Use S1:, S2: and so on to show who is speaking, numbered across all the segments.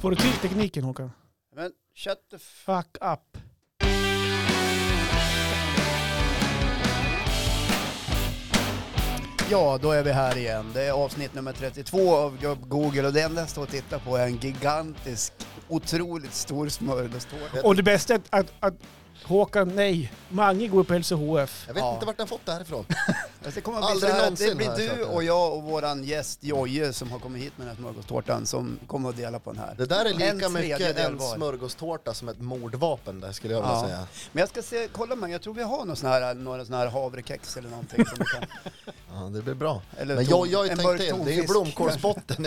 S1: Får du till tekniken Håkan?
S2: Men shut the f-
S1: Fuck up.
S2: Ja, då är vi här igen. Det är avsnitt nummer 32 av Gubb Google och det enda jag står och tittar på är en gigantisk, otroligt stor smörgåstårta.
S1: Och det bästa är att, att, att Håkan, nej, Mange går på LCHF.
S3: Jag vet
S2: Ja.
S3: inte vart den fått det här ifrån.
S2: Och det kommer att bli
S3: Aldrig
S2: så här att det
S3: någonsin
S2: blir
S3: har jag
S2: du
S3: kört det här.
S2: och jag och våran gäst Jojje som har kommit hit med den här smörgåstårtan som kommer att dela på den här.
S3: Det där är lika
S2: En
S3: mycket
S2: tredjedel
S3: en
S2: var.
S3: smörgåstårta som ett mordvapen där skulle jag vilja
S2: Ja.
S3: säga.
S2: Men jag ska se, kolla med, jag tror vi har någon sån här, några sån här havrekex eller någonting som vi kan...
S3: Ja, det blir bra.
S2: Eller
S3: Men
S2: ton-
S3: jag, jag har ju
S2: en
S3: tänkt
S2: burk
S3: till, det är ju
S2: tonfisk.
S3: blomkålsbotten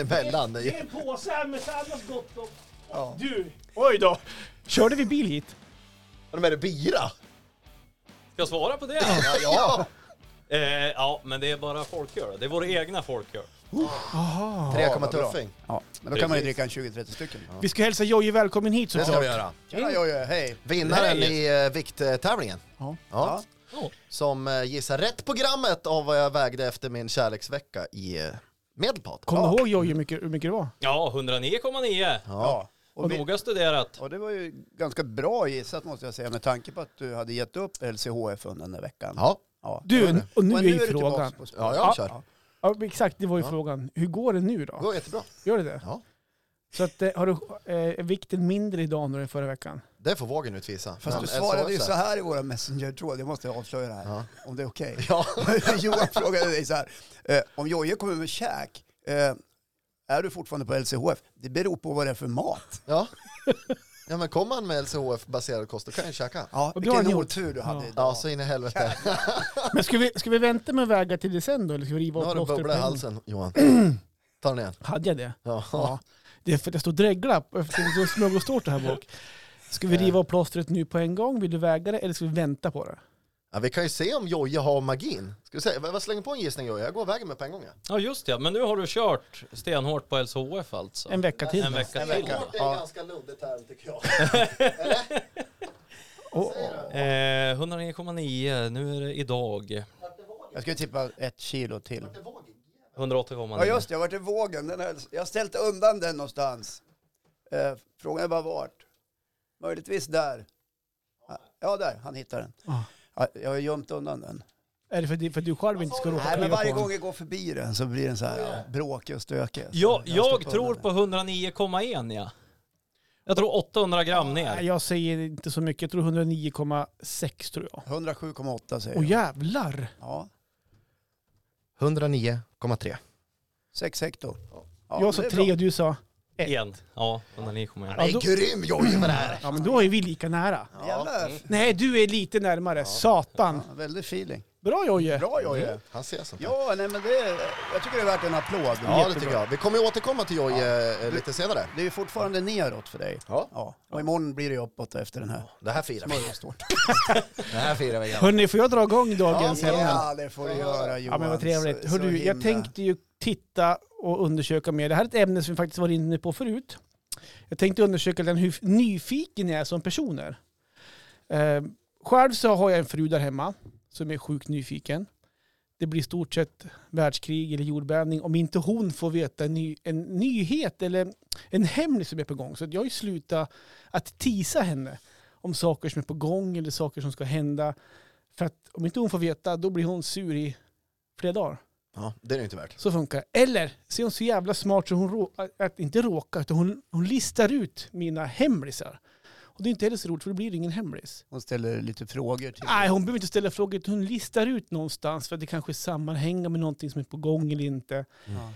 S3: emellan. Det är-
S1: en påse med annat gott och,
S2: Ja.
S1: du. Oj då. Körde vi bil hit?
S3: Ja, Men är det bira?
S4: Ska jag svara på det?
S3: Ja, ja.
S4: eh, ja, men det är bara folköl. Det är våra egna folköl.
S1: Aha.
S3: Tre
S2: Ja,
S3: komma
S2: vad bra.
S3: tuffing.
S2: Ja, men då kan man ju
S4: Precis.
S2: dricka en 20-30 stycken.
S1: Vi ska hälsa Jojje välkommen hit
S3: Det ska
S1: såklart.
S3: vi göra.
S2: Tjena Jojje, hej!
S3: Vinnaren
S4: Nej.
S3: i eh, vikttävlingen.
S1: Ja.
S3: Ja. Som eh, gissar rätt programmet av vad jag vägde efter min kärleksvecka i eh, Medelpad.
S1: Kommer du ihåg Jojje hur mycket, hur mycket det var?
S4: Ja, 109,9.
S3: Ja.
S2: Ja.
S4: Och
S2: Och, vi,
S4: Noga studerat.
S2: och det var ju ganska bra gissat måste jag säga med tanke på att du hade gett upp LCHF under den där veckan.
S3: Ja.
S2: Ja.
S1: Du, och nu är ju
S2: du tillbaks
S1: frågan.
S2: på spåret.
S3: Ja, jag kör.
S1: Ja, exakt, det var ju
S3: Ja.
S1: frågan. Hur går det nu
S3: Det
S1: då?
S3: går jättebra.
S1: Gör det det?
S3: Ja.
S1: Så att, eh, har du, eh, är vikten mindre idag än förra veckan?
S3: Det får vågen utvisa.
S2: Fast
S3: Men
S2: du svarade ju
S3: SOS.
S2: så här i våra messenger-tråd, jag måste avslöja det här,
S3: Ja.
S2: om det är okej.
S3: Ja.
S2: Johan frågade dig så här, eh, om Jojje kommer med käk, eh, är du fortfarande på LCHF? Det beror på vad det är för mat.
S3: Ja. ja, men kom han med LCHF-baserad kost, då kan jag ju käka.
S2: Ja,
S1: Och det har
S2: vilken
S1: ni gjort.
S2: otur du hade
S1: Ja.
S2: idag.
S3: Ja, så in i helvete.
S1: Men ska vi, ska vi vänta med väga till december då, eller ska vi riva
S3: Nu
S1: upp
S3: har du
S1: plåster på
S3: bubbla i
S1: en gång?
S3: halsen, Johan. Ta den igen.
S1: Hade jag det?
S3: Ja.
S1: Ja. Det är för att jag står och dreglar på- eftersom det är smörgåstårta här bak. Ska vi riva upp plåstret nu på en gång? Vill du väga det eller ska vi vänta på det?
S3: Ja, vi kan ju se om Jojje har magin. Ska du säga, vad vad slänger på en gissning Jojje? Jag går vägen med på en gång. Ja.
S4: Ja, just det. Men nu har du kört stenhårt på LCHF alltså.
S1: En vecka till.
S4: En
S1: då.
S4: vecka
S3: En
S4: till.
S3: vecka. Det är
S2: Ja.
S3: ganska luddigt här tycker jag.
S1: Och-
S4: Eh, 109,9. Nu är det idag.
S2: Jag skulle tippa ett kilo till.
S4: 108,9.
S2: Ja just det, jag vart i vågen. Den här, jag har ställt undan den någonstans. Eh, frågan är bara vart. Möjligtvis där. Ja, där. Han hittar den.
S1: Ah.
S2: Ja, jag har gömt undan den.
S1: Är det för, att- för att du själv inte ska råka
S2: Nej, men
S1: kliva
S2: varje
S1: på
S2: gång jag går förbi den så blir den så här ja, bråkig och stökig. Så
S4: Ja,
S2: har
S4: jag
S2: stått
S4: tror
S2: undan
S4: på
S2: den.
S4: 109,1 ja. Jag tror 800 gram
S1: den?
S4: ner.
S1: Nej, jag säger inte så mycket. Jag tror 109,6 tror jag.
S2: 107,8 säger
S1: Åh
S2: jag.
S1: jävlar!
S2: Ja,
S3: 109,3.
S2: sex hekto. Ja, men
S1: jag sa
S2: det är
S1: tre
S2: bra.
S1: och du sa...
S4: Igen. Ja, 109,1.
S3: Det
S1: då-
S3: är grym Jojje med det här.
S1: Ja men då är vi lika nära.
S2: Jävlar.
S1: Nej du är lite närmare, satan.
S2: Ja, väldigt feeling.
S1: Bra Jojje!
S2: Bra Jojje.
S1: Mm.
S3: Han ser sånt här.
S2: Ja, nej men det är, jag tycker det är värt en applåd.
S3: Ja, det tycker jag. Vi kommer ju återkomma till Jojje eh, lite senare.
S2: Det är ju fortfarande neråt för dig.
S3: Ja.
S2: Ja, och imorgon blir det uppåt efter den här.
S3: Det här firar vi.
S2: Smörgåstårta.
S3: Det här firar vi. igen.
S1: Hörni, får jag dra igång dagens ämne?
S2: Ja, det får du göra Johan.
S1: Ja men vad trevligt.
S2: Så-
S1: Hörru,
S2: så
S1: du, jag
S2: himla-
S1: tänkte ju titta och undersöka mer. Det här är ett ämne som vi faktiskt varit inne på förut. Jag tänkte undersöka den hur nyfiken jag är som personer. Eh, själv så har jag en fru där hemma som är sjukt nyfiken. Det blir i stort sett världskrig eller jordbävning om inte hon får veta en, ny, en nyhet eller en hemlis som är på gång. Så att jag har ju slutat att tisa henne om saker som är på gång eller saker som ska hända. För att om inte hon får veta då blir hon sur i flera dagar.
S3: Ja, det är det inte värt.
S1: Så funkar det. Eller så är hon så jävla smart så hon rå, att inte råkar, utan hon, hon listar ut mina hemlisar. Och det är inte heller så roligt för det blir ingen hemlis.
S2: Hon ställer lite frågor till
S1: Nej, hon behöver inte ställa frågor, utan hon listar ut någonstans för att det kanske sammanhänger med någonting som är på gång eller inte.
S2: Ja.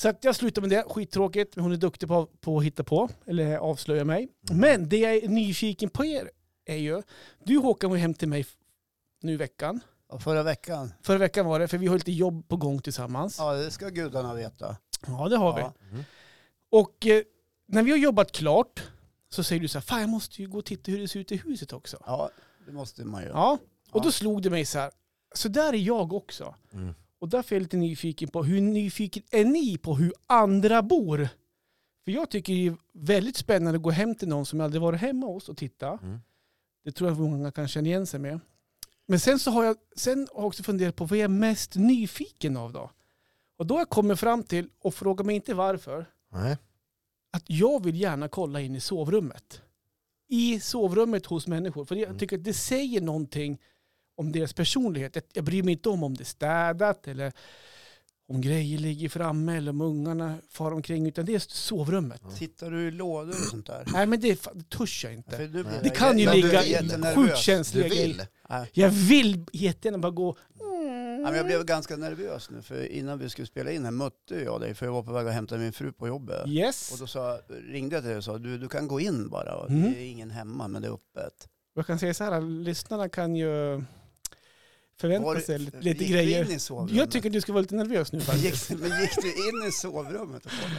S1: Så att jag slutar med det, skittråkigt, men hon är duktig på, på att hitta på, eller avslöja mig. Men det jag är nyfiken på er är ju, du Håkan var ju hem till mig f- nu i veckan.
S2: Och förra veckan.
S1: Förra veckan var det, för vi har lite jobb på gång tillsammans.
S2: Ja, det ska gudarna veta.
S1: Ja, det har vi.
S2: Ja.
S1: Och eh, när vi har jobbat klart så säger du så här, fan jag måste ju gå och titta hur det ser ut i huset också.
S2: ja, det måste man ju.
S1: Ja, och då
S2: Ja.
S1: slog det mig så här, så där är jag också.
S3: Mm.
S1: Och därför är jag lite nyfiken på, hur nyfiken är ni på hur andra bor? För jag tycker det är väldigt spännande att gå hem till någon som aldrig varit hemma hos och titta.
S3: Mm.
S1: Det tror jag många kan känna igen sig med. Men sen så har jag, sen har jag också funderat på vad jag är mest nyfiken av då? Och då har jag kommit fram till, och fråga mig inte varför,
S3: Nej.
S1: att jag vill gärna kolla in i sovrummet. I sovrummet hos människor. För
S2: Mm.
S1: jag tycker att det säger någonting om deras personlighet. Jag- Jag bryr mig inte om om det är städat eller om grejer ligger framme eller om ungarna far omkring. Utan det är sovrummet.
S2: Tittar du i lådor och sånt där?
S1: Nej men det, är fa- det törs jag inte.
S2: För nu blir
S1: Det
S2: jag
S1: kan ju
S2: jä- jag blir
S1: ligga i
S2: jättenervös.
S1: sjukt
S3: Du
S1: känsliga
S3: vill?
S1: grejer. Jag vill jättegärna bara gå...
S2: Ja, men jag blev ganska nervös nu, för innan vi skulle spela in här mötte jag dig, för jag var på väg att hämta min fru på jobbet. Och
S1: Yes.
S2: då sa, ringde jag till dig och sa, du, du kan gå in bara. Och
S1: Mm.
S2: Det är ingen hemma, men det är öppet.
S1: Jag kan säga så här, lyssnarna kan ju förvänta
S2: Var-
S1: sig lite, lite
S2: gick
S1: grejer.
S2: Du in i sovrummet?
S1: Jag tycker du ska vara lite nervös nu faktiskt.
S2: Gick, men gick du in i sovrummet? och kollade?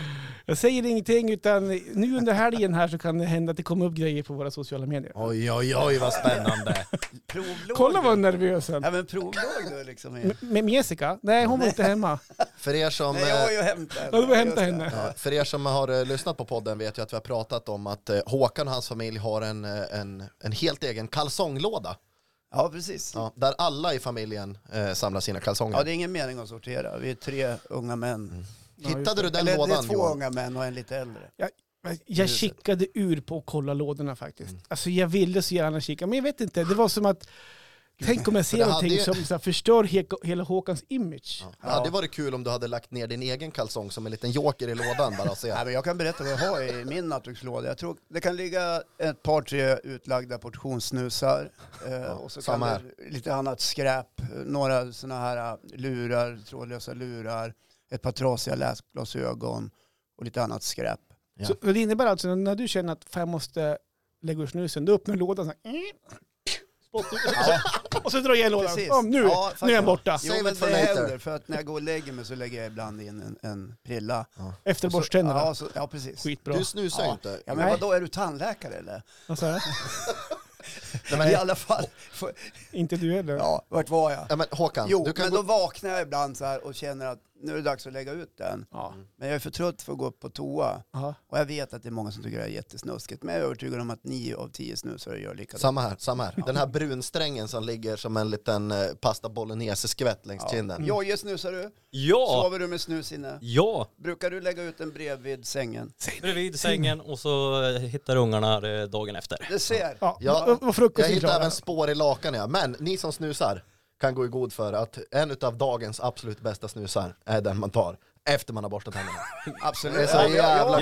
S1: Jag säger ingenting utan nu under helgen här så kan det hända att det kommer upp grejer på våra sociala medier.
S3: Oj, oj, oj vad spännande.
S2: Provlåg
S1: Kolla vad Mm.
S2: du?
S1: nervös han
S2: Ja, men provlåg du liksom in?
S1: M- Med Jessica? Nej, hon var inte hemma.
S3: För er som...
S2: Nej, jag var ju och hämtade henne.
S1: Ja, du var och
S2: just
S1: hämta
S2: det.
S1: henne.
S3: Ja, För er som har eh, lyssnat på podden vet jag att vi har pratat om att eh, Håkan och hans familj har en, eh, en, en helt egen kalsonglåda.
S2: Ja, precis. Ja.
S3: Ja, där alla i familjen eh, samlar sina kalsonger.
S2: det är ingen mening att sortera. Vi är tre unga män.
S1: Ja,
S3: Hittade Mm. du den
S2: Eller det är
S3: lådan
S2: två
S3: Johan?
S2: unga män och en lite äldre.
S1: Jag kikade ur på att kolla lådorna faktiskt.
S2: Mm.
S1: Alltså jag ville så gärna kika, men jag vet inte. Det var som att, tänk om jag ser
S3: det
S1: någonting
S3: hade ju-
S1: som så här, förstör he- hela Håkans image.
S3: Ja. Det hade varit kul om du hade lagt ner din egen kalsong som en liten joker i lådan bara och se.
S2: Nej, men jag kan berätta vad jag har i min nattdukslåda. Jag tror det kan ligga ett par, tre utlagda portionssnusar. Eh, och så kan
S3: samma
S2: det, lite annat skräp. Eh, Några sådana här eh, lurar, trådlösa lurar. Ett par trasiga läsglasögon och lite annat skräp.
S3: Ja.
S1: Så så det innebär alltså när du känner att fan jag måste lägga ur snusen, då öppnar lådan så här, spottar ut, och så drar jag igen lådan.
S2: Precis.
S1: Ja, nu,
S2: Ja,
S1: nu är
S2: faktiskt.
S1: den borta,
S2: Jo,
S3: Save
S2: men
S3: it for
S2: det
S3: later.
S2: händer. För att när jag går och lägger mig så lägger jag ibland in en, en prilla.
S1: efter
S2: Och så-
S1: borstständerna.
S2: Ja, så, ja, precis.
S1: Skitbra.
S3: Du snusar ju
S2: Ja.
S3: inte.
S2: Ja, men
S1: Nej.
S2: vadå, är du tandläkare eller?
S1: Vad sa jag?
S2: I alla fall. För,
S1: Inte du heller?
S2: ja, vart var jag?
S3: Ja, men Håkan,
S2: Jo,
S3: du kan
S2: men
S3: gå...
S2: då vaknar jag ibland så här och känner att nu är det dags att lägga ut den.
S1: Ja.
S2: Men jag är för trött för att gå upp på toa.
S1: Ja.
S2: Och jag vet att det är många som tycker det är jättesnuskigt. Men jag är övertygad om att nio av tio snusare gör likadant.
S3: Samma här, samma här. Den här brunsträngen som ligger som en liten eh, pasta bolognese-skvätt längs kinden.
S2: Jojje snusar du?
S4: Ja!
S2: Sover du med snus inne?
S4: Ja!
S2: Brukar du lägga ut den bredvid sängen?
S4: Bredvid sängen och så eh, hittar ungarna det dagen efter.
S2: Du ser.
S1: Ja,
S3: Ja.
S1: och- och frukost
S3: Jag
S1: är
S3: hittade
S1: klar.
S3: även spår i lakanen, ja. men ni som snusar kan gå i god för att en av dagens absolut bästa snusar är den man tar efter man har borstat tänderna.
S2: Absolut.
S3: Det är så
S2: Ja,
S3: jävla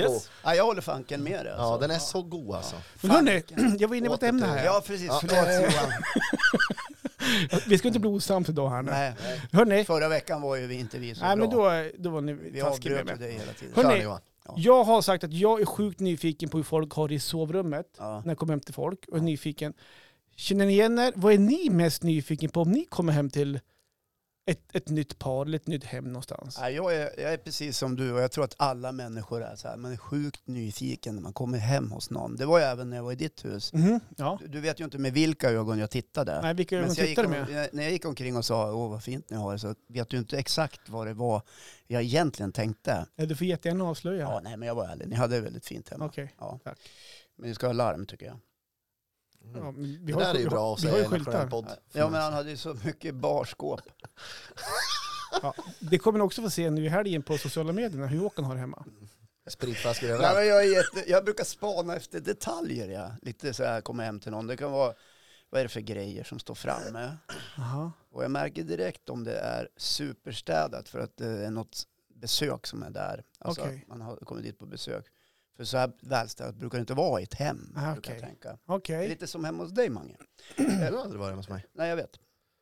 S2: jag, jag,
S3: god.
S2: ja, jag håller fanken med dig.
S3: Ja,
S2: Alltså.
S3: den är så god alltså.
S1: Men hörni, jag var inne på ett ämne här.
S2: Ja, precis. Förlåt Johan.
S1: Vi ska inte bli osams idag här nu.
S2: Nej,
S1: Hörni,
S2: förra veckan var ju vi inte vi så
S1: nej,
S2: bra.
S1: men då, då var ni
S2: vi
S1: taskiga
S2: avbröt
S1: med mig.
S2: ju dig hela tiden.
S1: Hörni.
S3: Kör nu Johan.
S1: Jag har sagt att jag är sjukt nyfiken på hur folk har det i sovrummet
S2: Ja.
S1: när jag kommer hem till folk. Och är nyfiken. Känner ni igen er? Vad är ni mest nyfiken på om ni kommer hem till ett, ett nytt par eller ett nytt hem någonstans?
S2: Ja, jag, är, jag är precis som du och jag tror att alla människor är så här. Man är sjukt nyfiken när man kommer hem hos någon. Det var jag även när jag var i ditt hus.
S1: Mhm, ja.
S2: Du, du vet ju inte med vilka ögon jag tittade.
S1: Nej, vilka ögon
S2: så jag
S1: tittar du
S2: gick om-
S1: med?
S2: jag- när jag gick omkring och sa åh vad fint ni har det så vet du inte exakt vad det var jag egentligen tänkte.
S1: Ja, Du får jättegärna
S2: Ja,
S1: avslöja.
S2: nej men jag var ärlig, ni hade det väldigt fint hemma.
S1: Okej.
S2: Ja.
S1: Tack.
S2: Men ni ska ha larm tycker jag.
S1: Ja, men vi
S3: Mm. Det
S1: har ju-
S3: där är
S1: vi
S3: ju
S1: har-
S3: bra att
S1: vi har ju
S3: säga i en nationell
S1: skyltar.
S3: podd. Mm.
S2: Ja men han hade ju så mycket barskåp.
S1: Ja, det kommer ni också få se nu i helgen på sociala medierna hur Håkan har det hemma.
S3: Spritflaskor
S2: Nej,
S3: överallt.
S2: men jag, är jätte, jag brukar spana efter detaljer ja. Lite så här komma hem till någon. Det kan vara vad är det för grejer som står framme?
S1: Aha.
S2: Och jag märker direkt om det är superstädat för att det är något besök som är där. Alltså
S1: Okej.
S2: att man har kommit dit på besök. För så här välstädat brukar det inte vara i ett hem.
S1: Ah,
S2: brukar jag
S1: okej.
S2: tänka.
S1: Okej.
S2: Det är lite som hemma hos dig Mange.
S3: Du har aldrig varit hemma hos mig.
S2: Nej jag vet.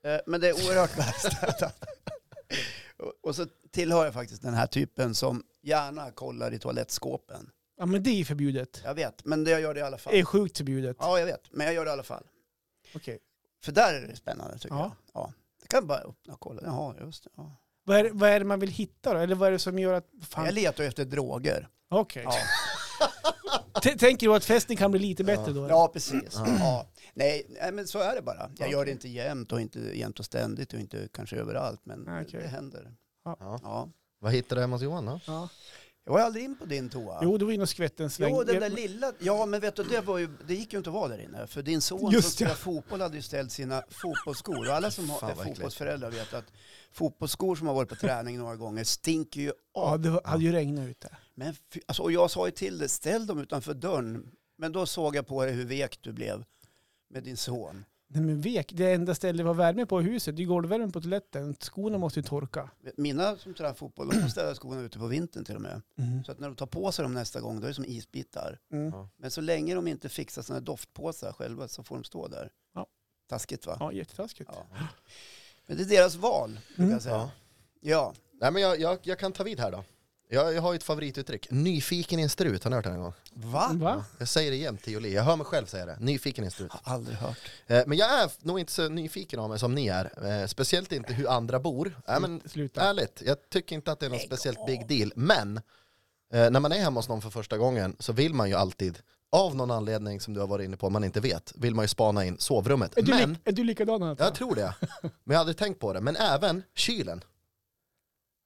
S2: Eh, Men det är oerhört välstädat. Och- Och så tillhör jag faktiskt den här typen som gärna kollar i toalettskåpen.
S1: Ja men det är förbjudet.
S2: Jag vet, men det jag gör det i alla fall.
S1: Det är sjukt förbjudet.
S2: Ja, jag vet. Men jag gör det i alla fall.
S1: Okej.
S2: För där är det spännande tycker
S1: Ja.
S2: jag. Ja. Det kan jag bara öppna och kolla. Jaha, just det. Ja.
S1: Vad, är, vad är det man vill hitta då? Eller vad är det som gör att... Fan.
S2: Jag letar ju efter droger.
S1: Okej.
S2: Ja,
S1: T- Tänker du att festen kan bli lite bättre då?
S2: ja precis. Ja. Nej, nej, men så är det bara. Jag gör det inte jämt och inte jämt och ständigt och inte kanske överallt. Men
S1: Nej, okej.
S2: det händer.
S1: Ja.
S2: Ja.
S3: Vad hittade du hemma hos Johan då?
S1: Ja.
S2: Jag var aldrig in på din toa.
S1: Jo, du var inne och skvätte en sväng.
S2: Jo, den där lilla. Ja, men vet du, det, var ju, det gick ju inte att vara där inne. För din son
S1: Just
S2: som
S1: det.
S2: spelar fotboll hade ju ställt sina fotbollsskor. Och alla som har,
S3: Fan,
S2: är
S3: vad äckligt.
S2: fotbollsföräldrar vet att fotbollsskor som har varit på träning några gånger stinker ju
S1: ja,
S2: av.
S1: det var- hade ju regnat ute.
S2: Men fy, alltså, och jag sa ju till dig, ställ dem utanför dörren. Men då såg jag på dig hur vek du blev med din son.
S1: Nej men vek, det enda stället vi har värme på i huset, det är golvvärmen på toaletten. Skorna måste ju torka.
S2: Mina som tränar fotboll, de får ställa skorna ute på vintern till och med. Så att när de tar på sig dem nästa gång, då är det som isbitar.
S1: Mm.
S3: Ja.
S2: Men så länge de inte fixar sina doftpåsar själva så får de stå där.
S1: Ja.
S2: Taskigt va?
S1: Ja, jättetaskigt.
S2: Ja. Men det är deras val, brukar jag säga.
S3: Ja.
S2: Mm. Ja.
S3: Nej men jag, jag, jag kan ta vid här då. Jag, jag har ju ett favorituttryck. Nyfiken i en strut, har ni hört det någon gång?
S2: Va?
S1: Va?
S3: Jag säger det jämt till Jolie, jag hör mig själv säga det. Nyfiken i en strut.
S2: Har aldrig hört.
S3: Eh, Men jag är nog inte så nyfiken av mig som ni är. Eh, Speciellt inte hur andra bor. Nej, men
S1: Sluta.
S3: ärligt, jag tycker inte att det är någon
S2: Lägg
S3: speciellt
S2: av.
S3: big deal. Men eh, när man är hemma hos någon för första gången så vill man ju alltid, av någon anledning som du har varit inne på, man inte vet, vill man ju spana in sovrummet.
S1: Är du,
S3: Men,
S1: lik, är du likadan Anton?
S3: jag tror det. Men jag har aldrig tänkt på det. Men även kylen.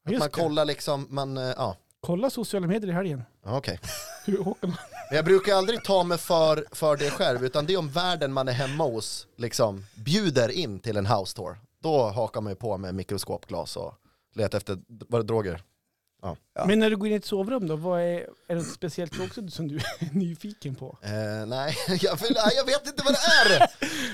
S3: Att
S1: Just
S3: man
S1: det.
S3: kollar liksom, man, eh, ja,
S1: Kolla sociala medier i helgen.
S3: ja, okej.
S1: Hur åker man?
S3: Men jag brukar aldrig ta mig för, för det själv, utan det är om världen man är hemma hos liksom bjuder in till en house tour. Då hakar man ju på med mikroskopglas och letar efter, var det droger?
S2: Ja.
S1: Men när du går in i ett sovrum då, vad är, är det något speciellt också som du är nyfiken på?
S3: Eh, nej, jag, vill, nej, jag vet inte vad det är!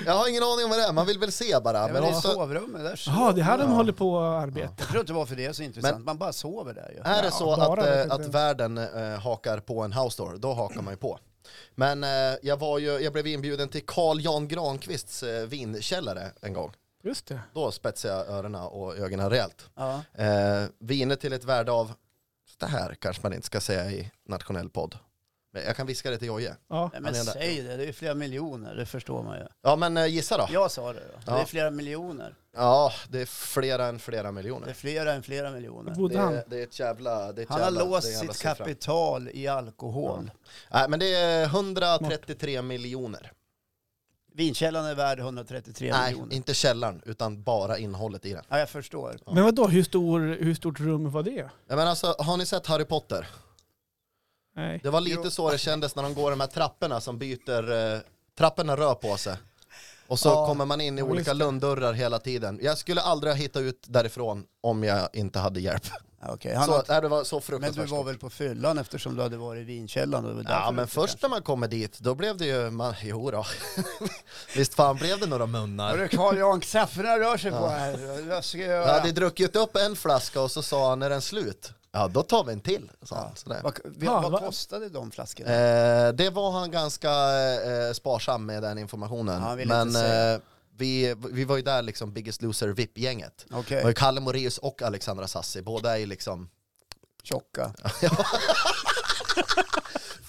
S3: Jag har ingen aning om vad det är, man vill väl se bara.
S2: Ja, men
S3: Men
S2: det är
S3: också,
S2: sovrummet där. så-
S1: Jaha, det här de
S3: Ja.
S1: håller på att arbeta.
S2: Jag tror inte varför det är så intressant. Man bara sover där ju.
S3: är det
S1: Ja,
S3: så
S1: bara
S3: att,
S1: vet
S3: eh,
S1: inte.
S3: att världen eh, hakar på en house tour, då hakar man ju på. Men eh, jag, var ju, jag blev inbjuden till Carl Jan Granqvists eh, vinkällare en gång.
S1: Just det.
S3: Då spetsade jag öronen och ögonen rejält.
S2: Ja.
S3: Eh, viner till ett värde av, det här kanske man inte ska säga i nationell podd. Men jag kan viska det till Jojje.
S1: Ja.
S2: Nej,
S3: Han
S2: men
S3: är där.
S2: säg det, det är flera miljoner, det förstår man ju.
S3: Ja men eh, gissa då.
S2: Jag sa det då. Det
S3: Ja.
S2: är flera miljoner.
S3: Ja, det är flera än flera
S2: Det är
S3: miljoner.
S2: flera än flera miljoner.
S1: Bodde
S3: Det
S1: han?
S3: är, det är ett jävla... Det är ett
S2: Han har
S3: jävla, det är
S2: låst
S3: en jävla
S2: sitt
S3: siffra.
S2: kapital i alkohol.
S3: Nej men det är 133 miljoner.
S2: Vinkällan är värd 133
S3: Nej,
S2: miljoner.
S3: inte källaren utan bara innehållet i den.
S2: Ja, jag förstår.
S3: Ja.
S1: Men vadå, hur, stor, hur stort rum var det?
S3: Ja, men alltså, har ni sett Harry Potter?
S1: Nej.
S3: Det var lite
S2: Jo.
S3: så det kändes när de går de här trapporna som byter, eh, trapporna rör på sig. Och så
S2: Ja.
S3: kommer man in i
S1: Ja, just
S3: olika
S1: det.
S3: lönndörrar hela tiden. Jag skulle aldrig ha hittat ut därifrån om jag inte hade hjälp.
S2: Ja, okej. Han
S3: så,
S2: har...
S3: nej, det var så
S2: Men
S3: fruktansvärt
S2: du var
S3: stort.
S2: väl på fyllan eftersom du hade varit i vinkällan? och det var därför
S3: Ja men
S2: du-
S3: först när man kommer dit, då blev det ju, man, jo då. Visst fan blev det några munnar.
S2: Hörru Carl Jan, kafferna rör sig på här. Jag ska
S3: Jag
S2: göra.
S3: hade druckit upp en flaska och så sa han, är den slut? Ja då tar vi en till, sa han. Sådär.
S2: Vad,
S1: Ja,
S2: vad,
S1: va-
S2: vad kostade de flaskorna?
S3: Eh, det var han ganska eh, sparsam med den informationen.
S2: Ja, han ville
S3: men
S2: inte säga.
S3: eh, vi, vi var ju där liksom Biggest Loser VIP-gänget.
S2: Okej,
S3: Det var ju Kalle Moraeus och Alexandra Sassi, båda är ju liksom
S2: tjocka.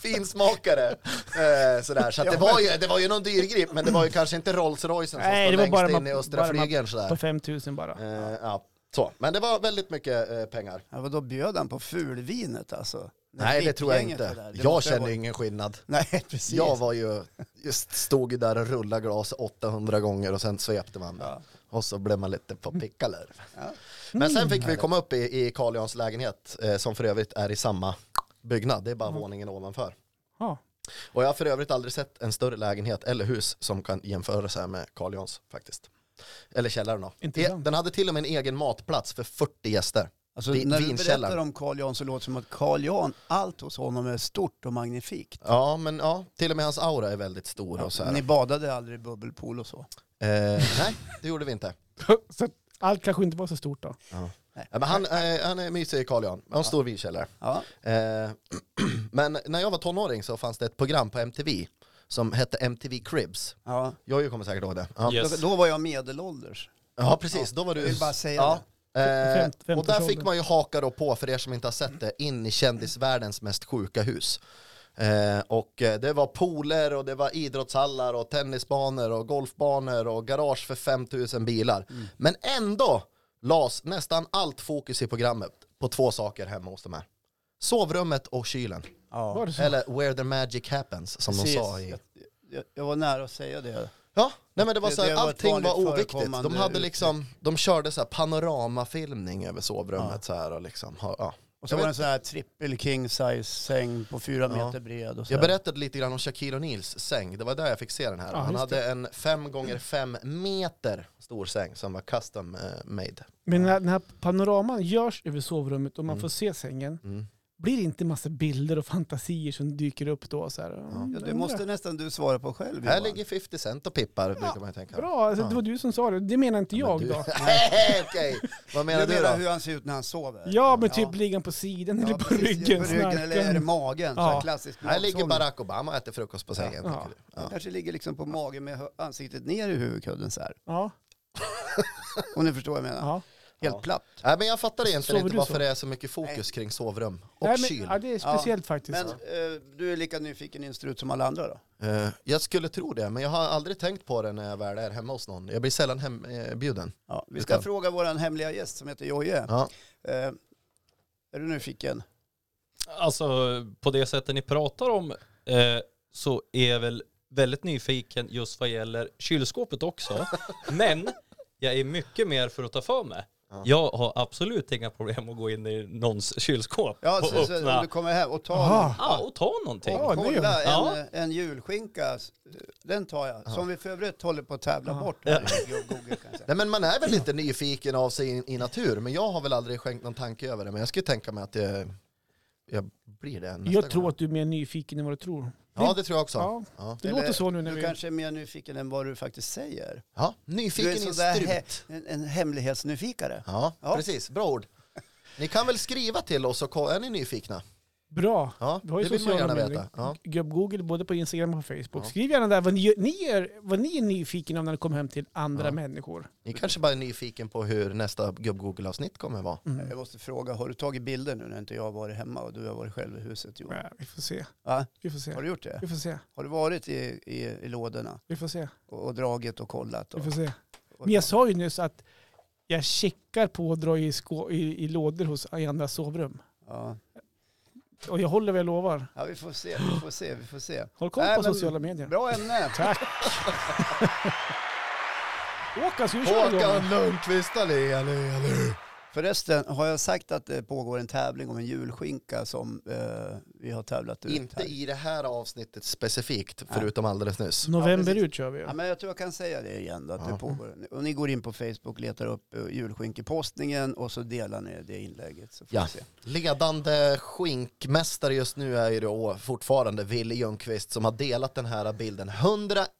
S3: finsmakare. Eh, sådär. Så att det,
S2: Ja,
S3: var ju, det var ju någon dyrgrip, men det var ju kanske inte Rolls-Roycen som
S1: Nej,
S3: stod
S1: det var
S3: längst
S1: bara
S3: in
S1: man-
S3: i östra
S1: bara man-
S3: flygeln.
S1: På
S3: Sådär.
S1: 5000 bara.
S3: Eh, ja. Så. Men det var väldigt mycket eh, pengar.
S2: Ja, vadå, bjöd han på fulvinet alltså? När
S3: Nej, det tror jag
S2: VIP-gänget var
S3: inte.
S2: där? Det
S3: Jag
S2: måste ha
S3: känner ju
S2: varit-
S3: ingen skillnad.
S2: Nej, precis.
S3: Jag var ju, just stod ju där och rullade glas 800 gånger och sen svepte man.
S2: Ja. Mm.
S3: Och så blev man lite på pickalur.
S2: Ja. Mm.
S3: Men sen fick vi komma upp i, i Carl Jans lägenhet, eh, som för övrigt är i samma byggnad. Det är
S2: Mm.
S3: bara våningen ovanför.
S1: Ja.
S3: Och jag har för övrigt aldrig sett en större lägenhet eller hus som kan jämföras här med Carl Jans faktiskt. Eller källaren då. E,
S1: Intressant.
S3: Den hade till och med en egen matplats för 40 gäster.
S2: Alltså,
S3: Vi-
S2: när du
S3: vinkällaren.
S2: berättar om Carl Jan så låter det som att Carl Jan, allt hos honom är stort och magnifikt.
S3: Ja, men ja, till och med hans aura är väldigt stor och så här.
S2: Ni badade aldrig i bubbelpool och så?
S3: Eh, nej, det gjorde vi inte.
S1: så att allt kanske inte var så stort då.
S3: Ja, men han, eh, han är mysig Carl Jan, han har en stor vinkällare.
S2: Ja.
S3: Eh, men när jag var tonåring så fanns det ett program på MTV som hette MTV Cribs.
S2: ja.
S3: Jag kommer säkert ihåg det. Ja,
S4: Yes.
S2: Då, då var jag medelålders.
S3: ja precis. Då var du...
S2: Jag vill bara säga
S3: ja. Eh,
S1: Femt-
S3: och där fick
S1: femtioårsåldern.
S3: man ju haka då på, för er som inte har sett det, in i kändisvärldens mest sjuka hus. Eh, och eh, det var pooler och det var idrottshallar och tennisbanor och golfbanor och garage för 5000 bilar.
S2: Mm.
S3: Men ändå lades nästan allt fokus i programmet på två saker hemma hos de här. Sovrummet och kylen.
S1: Var
S2: Ja.
S1: det så?
S3: Eller where the magic happens som
S2: Precis.
S3: de sa i...
S2: Jag, jag, jag var nära att säga det.
S3: Ja, nej men det var
S2: Det-
S3: så här,
S2: det var ett
S3: allting
S2: vanligt
S3: var oviktigt. De
S2: förekommande
S3: hade liksom, de körde så här panoramafilmning över sovrummet
S2: Ja.
S3: så här och liksom, ha- ja.
S2: Och så
S3: Jag
S2: var det
S3: vet-
S2: en sån här trippel king size säng på fyra
S3: Ja.
S2: meter bred. Och så
S3: Jag
S2: där.
S3: berättade lite grann om Shaquille O'Neals säng, det var där jag fick se den här.
S1: Ja,
S3: Han
S1: just
S3: hade en 5 gånger 5 meter stor säng som var custom eh, made.
S1: Men den här, den här panoraman görs över sovrummet och man får se sängen.
S3: Mm.
S1: blir det inte massa bilder och fantasier som dyker upp då? Så här, Mm,
S2: Ja, det
S1: undrar.
S2: måste nästan du svara på själv
S3: Här
S2: Johan.
S3: ligger 50 Cent och pippar, brukar man ju tänka.
S1: Bra, alltså, det var du som sa det. Det menar inte
S3: Men
S1: jag
S3: du-
S1: då.
S3: Nej, Okej, vad menar
S2: Du
S3: du,
S2: menar
S3: då?
S2: hur han ser ut när han sover?
S1: Ja, men
S2: Ja.
S1: typ ligga på sidan
S2: Ja,
S1: eller på
S2: precis,
S1: ryggen.
S2: På ryggen eller är det magen?
S1: Ja.
S2: Ja. Klassiskt
S3: Här ligger
S2: magsång.
S3: Barack Obama och äter frukost på sängen.
S1: Ja.
S3: tänker du. Ja.
S2: Kanske ligger liksom på magen med hö- ansiktet ner i huvudkudden så här.
S1: Ja,
S2: Om ni förstår vad jag menar.
S1: ja.
S2: Helt
S3: Ja.
S2: platt.
S3: Nej, men jag fattar egentligen
S1: Sover
S3: inte
S1: du
S3: varför
S1: så?
S3: det är så mycket fokus kring sovrum och
S1: Nej, men,
S3: kyl.
S1: ja, det är speciellt faktiskt.
S2: Men eh, du är lika nyfiken i en strut som alla andra då?
S3: Eh, jag skulle tro det, men jag har aldrig tänkt på det när jag väl är hemma hos någon. Jag blir sällan eh, hembjuden.
S2: Ja, vi
S3: Det
S2: ska
S3: kan-
S2: fråga vår hemliga gäst som heter Jojje.
S3: Ja.
S2: Eh, är du nyfiken?
S4: Alltså på det sättet ni pratar om eh, så är jag väl väldigt nyfiken just vad gäller kylskåpet också. Men jag är mycket mer för att ta för mig. Jag har absolut inga problem att gå in i någons kylskåp
S2: Ja,
S4: och
S2: så, så,
S4: öppna
S2: om du kommer hem och tar
S1: Aha.
S2: någon.
S4: ja, och ta någonting.
S1: Ja, det gör
S2: Kolla, en,
S4: Ja.
S2: en julskinka, den tar jag. Som vi för övrigt håller på att tävla bort. Ja. Google, kan jag säga.
S3: Nej, men man är väl lite nyfiken av sig i, i natur, men jag har väl aldrig skänkt någon tanke över det. Men jag skulle tänka mig att det, jag blir det nästa
S1: jag tror
S3: gång.
S1: att du är mer nyfiken än vad du tror.
S3: Ja, det tror jag också. Ja,
S1: Ja, det
S2: Eller,
S1: låter så nu när
S2: Du
S1: vi...
S2: kanske är mer nyfiken än vad du faktiskt säger. Du
S3: nyfiken
S2: är
S3: i en
S2: sådär
S3: strut.
S2: he, en, en hemlighetsnyfikare.
S3: Ja,
S2: Ja.
S3: precis. Bra ord. Ni kan väl skriva till oss och ko- är ni nyfikna?
S1: Bra.
S3: Ja,
S1: Vi har ju
S3: det vill man
S1: sociala
S3: gärna
S1: medier.
S3: veta. Ja.
S1: Gubb-Google både på Instagram och på Facebook. Skriv gärna där vad ni, ni är, vad ni är nyfiken om när det kommer hem till andra människor.
S3: Ni kanske bara är nyfiken på hur nästa gubb-Google-avsnitt kommer vara.
S2: Jag måste fråga, har du tagit bilder nu när inte jag har varit hemma och du har varit själv i huset? Johan?
S1: Ja, vi får se.
S2: Va?
S1: Vi får se.
S2: Har du gjort det?
S1: Vi får se.
S2: Har du varit i, i, i lådorna
S1: Vi får se.
S2: och, och dragit och kollat?
S1: Vi
S2: Och,
S1: får se.
S2: och,
S1: Men jag sa ju nyss att jag checkar på att dra i, skå, i, i lådor hos, i andra sovrum.
S2: ja.
S1: Och jag håller vad jag lovar.
S2: ja, vi får se, vi får se, vi får se.
S1: Håll koll
S2: Nej,
S1: på
S2: men-
S1: sociala medier.
S2: Bra ämne!
S1: Håkan, ska vi köra igång?
S3: Håkan Lundqvist, allé, allé, allé.
S2: Förresten, har jag sagt att det pågår en tävling om en julskinka som eh, vi har tävlat ut
S3: Inte
S2: här?
S3: i det här avsnittet specifikt, förutom alldeles nyss.
S1: November
S2: precis.
S1: ut kör vi ju.
S2: Ja, men jag tror jag kan säga det igen då, att
S3: Ja.
S2: det pågår. Och ni går in på Facebook, letar upp eh, julskinkepostningen och så delar ni det inlägget så får
S3: Ja.
S2: vi se.
S3: Ledande skinkmästare just nu är ju då fortfarande Wille Ljungqvist som har delat den här bilden 101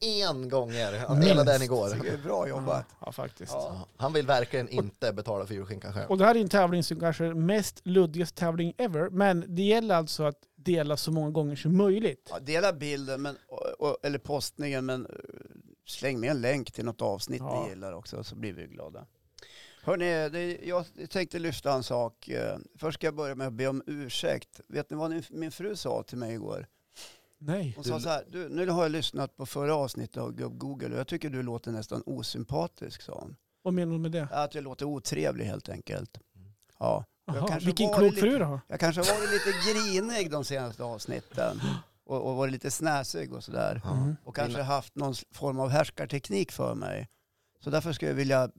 S3: gånger. Han delade den
S2: Mm. Så
S3: igår.
S2: det är bra jobbat.
S1: Ja, faktiskt.
S3: Ja, Han vill verkligen inte betala för julskinkan själv.
S1: Och det här är en tävling som kanske är mest luddigaste tävling ever. Men det gäller alltså att dela så många gånger som möjligt.
S2: Ja, dela bilden, men, och- och, eller postningen, men eh, släng med en länk till något avsnitt
S1: Ja.
S2: ni gillar också så blir vi glada. Hörrni, det, jag tänkte lyfta en sak. Eh, Först ska jag börja med att be om ursäkt. Vet ni vad ni- min fru sa till mig igår?
S1: Nej.
S2: Hon sa så här, du, nu har jag lyssnat på förra avsnittet av Gubb Google och jag tycker du låter nästan osympatisk, sa hon.
S1: Vad menar du med det?
S2: Att jag låter otrevlig helt enkelt. Ja, jag
S1: Jaha,
S2: kanske
S1: vilken
S2: var
S1: klok
S2: lite-
S1: fru du har.
S2: jag kanske har varit lite grinig de senaste avsnitten och, och varit lite snäsig och sådär.
S1: Mhm.
S2: Och kanske haft någon form av härskarteknik för mig. Så därför skulle jag vilja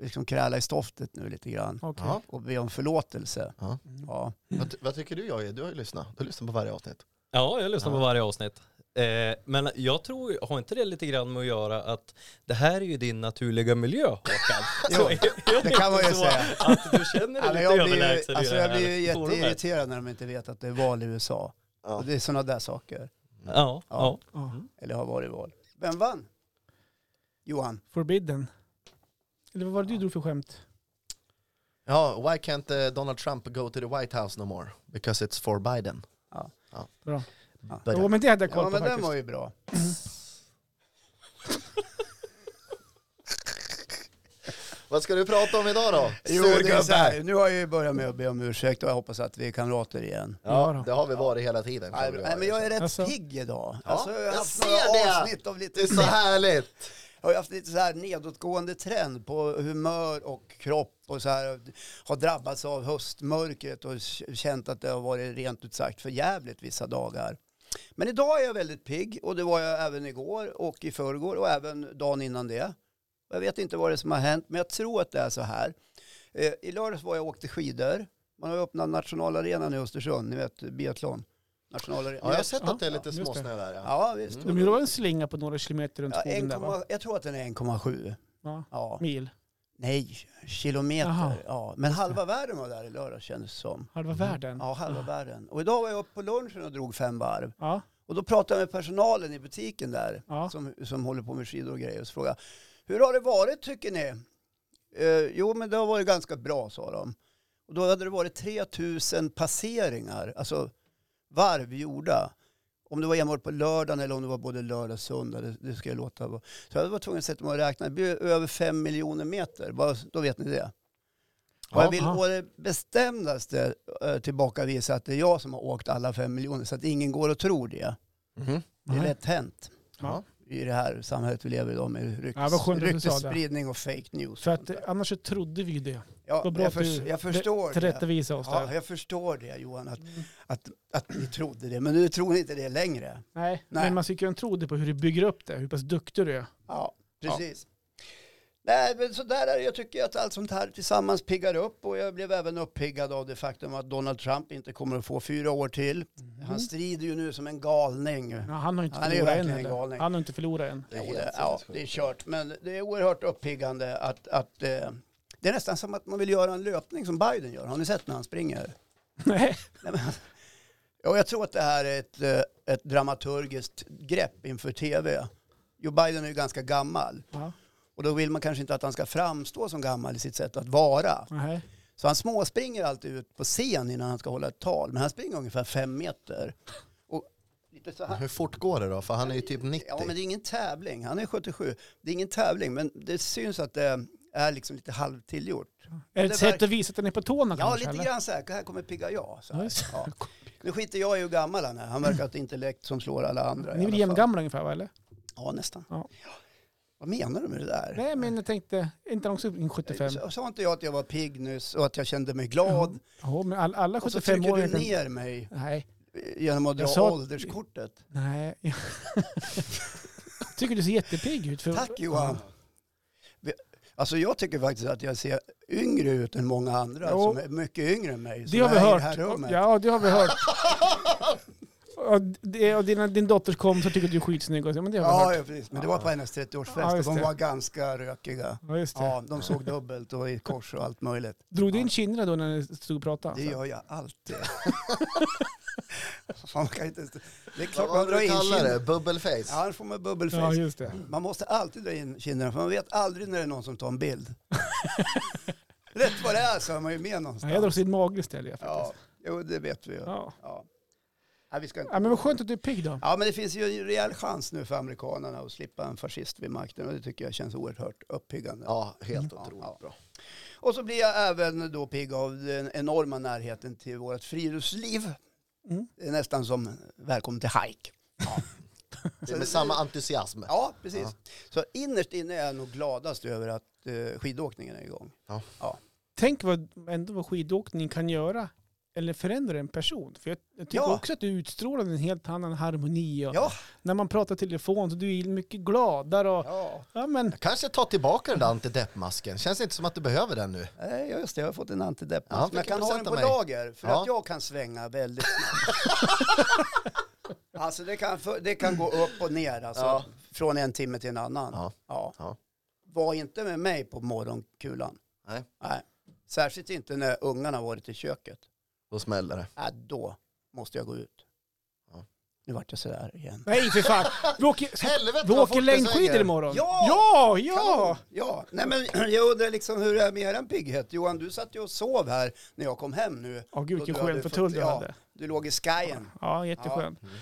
S2: liksom kräla i stoftet nu lite grann
S1: Okej.
S3: Ja.
S2: och be om förlåtelse.
S3: Ja.
S4: Mm.
S2: Ja.
S3: Vad, ty- vad tycker du Jojje? Du har ju lyssnat. Du lyssnar på varje avsnitt.
S4: Ja, jag lyssnar
S3: Ja.
S4: på varje avsnitt. Eh, men jag tror, har inte det lite grann med att göra att det här är ju din naturliga miljö Håkan? Så är ju
S2: det kan man ju
S4: inte så
S2: säga.
S4: Att du känner dig
S2: Alltså,
S4: lite
S2: jag
S4: överlägsen
S2: blir
S4: i
S2: ju, alltså,
S4: det här
S2: jag blir ju
S4: forumet.
S2: jätteirriterad när de inte vet att det är val i USA.
S3: Ja.
S2: Och det är sådana där saker.
S4: Ja, ja.
S1: Ja.
S2: Eller har varit val. Vem vann? Johan.
S1: Forbidden. Eller vad var det du drog för skämt?
S3: Ja, why can't eh, Donald Trump go to the White House no more? Because it's for Biden.
S2: Ja.
S1: Bra.
S2: Ja.
S3: Börja.
S1: Jo, men det hade jag koll
S2: Ja,
S1: på
S2: men den
S1: faktiskt.
S2: var ju bra.
S3: Vad ska du prata om idag då?
S2: Jo, det är så här. Nu har jag ju börjat med att be om ursäkt och jag hoppas att vi är kamrater igen.
S1: Ja då.
S3: Ja, det har vi varit hela tiden.
S2: Nej,
S3: tror
S2: men jag är rätt
S1: Alltså-
S2: pigg idag.
S3: Ja,
S2: alltså, jag har
S3: jag
S2: haft
S3: ser
S2: några
S3: det.
S2: avsnitt av
S3: Det är
S2: lite,
S3: så härligt!
S2: jag har haft lite så här nedåtgående trend på humör och kropp och så här. Har drabbats av höstmörkret och k- känt att det har varit rent ut sagt för jävligt vissa dagar. Men idag är jag väldigt pigg och det var jag även igår och i förrgår och även dagen innan det. Jag vet inte vad det är som har hänt men jag tror att det är så här. Eh, I lördags var jag och åkte skidor. Man har ju öppnat nationalarenan i Östersund, ni vet biathlon. Nationalarenan.
S3: Ja, jag har sett
S1: Ja,
S3: att det är lite
S1: just det.
S3: småsnö där. Ja.
S2: Ja, visst.
S1: Mm. De gjorde en slinga på några kilometer runt
S2: Ja,
S1: skogen där va?
S2: 1,7 jag tror att den är 1,7.
S1: Ja.
S2: Ja.
S1: Mil.
S2: Nej, kilometer.
S1: Jaha.
S2: Ja. Men halva världen var där i lördag kändes det som.
S1: Halva världen.
S2: Mm. Ja, halva världen. Och idag var jag uppe på lunchen och drog fem varv.
S1: Ja.
S2: Och då pratade jag med personalen i butiken där,
S1: Ja.
S2: som, som håller på med skidor och grejer, och så frågade jag, hur har det varit tycker ni? Eh, jo, men det har varit ganska bra, sa de. Och då hade det varit 3000 passeringar, alltså varv gjorda. Om det var enbart på lördagen eller om det var både lördag och söndag, det, det ska jag låta vara. Så jag var tvungen att sätta mig och räkna. Det blir över 5 miljoner meter, bara, då vet ni det. Och
S3: Ja,
S2: jag vill
S1: ja.
S2: på det bestämdaste eh, tillbakavisa att det är jag som har åkt alla 5 miljoner, så att ingen går och tror det.
S3: Mhm.
S2: Det är
S1: Nej.
S2: lätt hänt
S1: Ja.
S2: i det här samhället vi lever i idag med rykt,
S1: Ja, vad skönt att du sa det.
S2: ryktesspridning och fake news.
S1: För att eh, annars så trodde vi ju det.
S2: ja,
S1: Vad bra
S2: jag,
S1: att
S2: förs-
S1: du
S2: jag förstår det.
S1: tillrättavisa oss
S2: Ja,
S1: där. Mm.
S2: jag förstår det Johan, att, att, att ni trodde det. Men nu tror ni inte det längre.
S1: Nej,
S2: Nej.
S1: men man ska ju kunna tro det på hur du bygger upp det, hur pass duktig du är.
S2: Ja, precis. Nej, men så där är det. Jag tycker att allt sånt här tillsammans piggar upp och jag blev även uppiggad av det faktum att Donald Trump inte kommer att få fyra år till.
S1: Mm.
S2: Han strider ju nu som en galning.
S1: Ja, han har ju inte
S2: Han är ju
S1: förlorat än
S2: verkligen en
S1: heller.
S2: galning.
S1: Han har inte förlorat än.
S3: Det är
S2: Jo,
S3: helt
S2: det, ja,
S3: sinnessjukt.
S2: det är kört. Men det är oerhört uppiggande att, att eh, det är nästan som att man vill göra en löpning som Biden gör. Har ni sett när han springer?
S1: Nej.
S2: Nej, men, ja, jag tror att det här är ett, eh, ett dramaturgiskt grepp inför tv. Joe Biden är ju ganska gammal
S1: Ja.
S2: och då vill man kanske inte att han ska framstå som gammal i sitt sätt att vara.
S1: Nej.
S2: Så han småspringer alltid ut på scen innan han ska hålla ett tal, men han springer ungefär fem meter. Och lite så här.
S3: Hur fort går det då? För han är ju typ 90.
S2: Ja, men det är ingen tävling. Han är 77. Det är ingen tävling, men det syns att det är liksom lite halvtillgjort.
S1: Är det ett
S2: Det
S1: sätt
S2: verk-
S1: att visa att den är på tårna
S2: Ja,
S1: kanske?
S2: lite
S1: eller?
S2: grann så här. Här kommer pigga jag. Så
S1: Ja,
S2: här.
S1: just det.
S2: Ja. Nu skiter jag i hur gammal han är. Han verkar ha ett intellekt som slår alla
S1: Ni
S2: andra. i
S1: är väl
S2: alla fall.
S1: jämngamla ungefär va, eller?
S2: Ja, nästan.
S1: Ja.
S2: Vad menar du med det där?
S1: Nej, men jag tänkte, är inte de också in 75?
S2: Så- Sa inte jag att jag var pigg nyss och att jag kände mig glad?
S1: Ja, men all, alla
S2: Och så trycker
S1: 75 år...
S2: du ner mig
S1: Nej,
S2: genom att dra
S1: Jag sa-
S2: ålderskortet.
S1: nej. Jag tycker du ser jättepigg ut. För...
S2: Tack Johan. Vi- Alltså jag tycker faktiskt att jag ser yngre ut än många andra
S1: Jo.
S2: som är mycket yngre än mig.
S1: Det
S2: som
S1: har vi
S2: är i
S1: hört.
S2: Här rummet.
S1: Ja, det har vi hört. Och, det, och dina, din dotters kompisar tycker att du är skitsnygg. och så, Men det har vi
S2: Ja,
S1: hört.
S2: ja, precis. Men det var på hennes 30-årsfest
S1: Ja,
S2: och
S1: just
S2: de
S1: det.
S2: var ganska rökiga.
S1: Ja, just det.
S2: Ja, de såg dubbelt och i kors och allt möjligt.
S1: Drog du in kinderna då när ni stod och pratade?
S2: Det gör jag alltid. Fan, man kan inte... ens- Det är
S3: Vad
S2: klart man
S3: var
S2: drar
S3: det du
S2: in
S3: kallade det?
S2: kinderna.
S3: Bubbleface?
S2: Ja, annars får man
S1: Ja,
S2: bubbelface.
S1: just det.
S2: Man måste alltid dra in kinderna för man vet aldrig när det är någon som tar en bild. Rätt vad det är så är man ju med
S1: Ja, jag drog
S2: någonstans.
S1: sin mage istället jag,
S2: Ja,
S1: faktiskt.
S2: jo, det vet vi ju.
S1: Ja.
S2: Ja. Nej, vi ska inte...
S1: ja, men vad skönt att du är pigg då.
S2: Ja, men det finns ju en rejäl chans nu för amerikanerna att slippa en fascist vid makten och det tycker jag känns oerhört uppiggande.
S3: Ja, helt
S2: Ja,
S3: otroligt
S2: ja.
S3: bra.
S2: Och så blir jag även då pigg av den enorma närheten till vårt friluftsliv.
S1: Mm.
S2: Det är nästan som välkommen till hike.
S3: Det är med samma entusiasm.
S2: Ja, precis. Så innerst inne är jag nog gladast över att eh, skidåkningen är igång.
S1: Tänk vad, ändå vad skidåkning kan göra eller förändra en person. För jag, jag tycker
S2: Ja.
S1: också att du utstrålar en helt annan harmoni. Och
S2: Ja,
S1: När man pratar i telefon så du är mycket gladare. Och,
S2: ja.
S1: ja, men,
S3: Kanske ta tillbaka den där antideppmasken. Känns inte som att du behöver den nu.
S2: Nej, just det. Jag har fått en antidepp.
S3: Ja,
S2: men jag kan
S3: vilken
S2: ha den på
S3: present av mig.
S2: lager för
S3: Ja.
S2: att jag kan svänga väldigt snabbt. Alltså det kan, för- det kan gå upp och ner alltså,
S3: Ja.
S2: från en timme till en annan.
S3: Ja.
S2: Ja.
S3: Ja.
S2: Var inte med mig på morgonkulan.
S3: Nej.
S2: Nej. Särskilt inte när ungarna varit i köket.
S3: Då smäller det.
S2: Äh, då måste jag gå ut.
S3: Ja.
S2: Nu vart jag sådär igen.
S1: nej för fan. Vi åker,
S3: Helvete
S1: vi
S3: vad fort
S1: åker
S3: det
S1: längdskidor
S3: svänger.
S1: imorgon.
S2: Ja!
S1: Ja!
S2: Kanon.
S1: ja!
S2: ja. Nej, men jag undrar liksom hur det är med eran pigghet. Johan, du satt ju och sov här när jag kom hem nu.
S1: Åh gud
S2: Då
S1: vilken
S2: du
S1: skön
S2: hade
S1: fåtölj
S2: fått-
S1: du
S2: ja,
S1: hade.
S2: Du låg i skyen.
S1: Ja, jätteskön.
S2: Mm.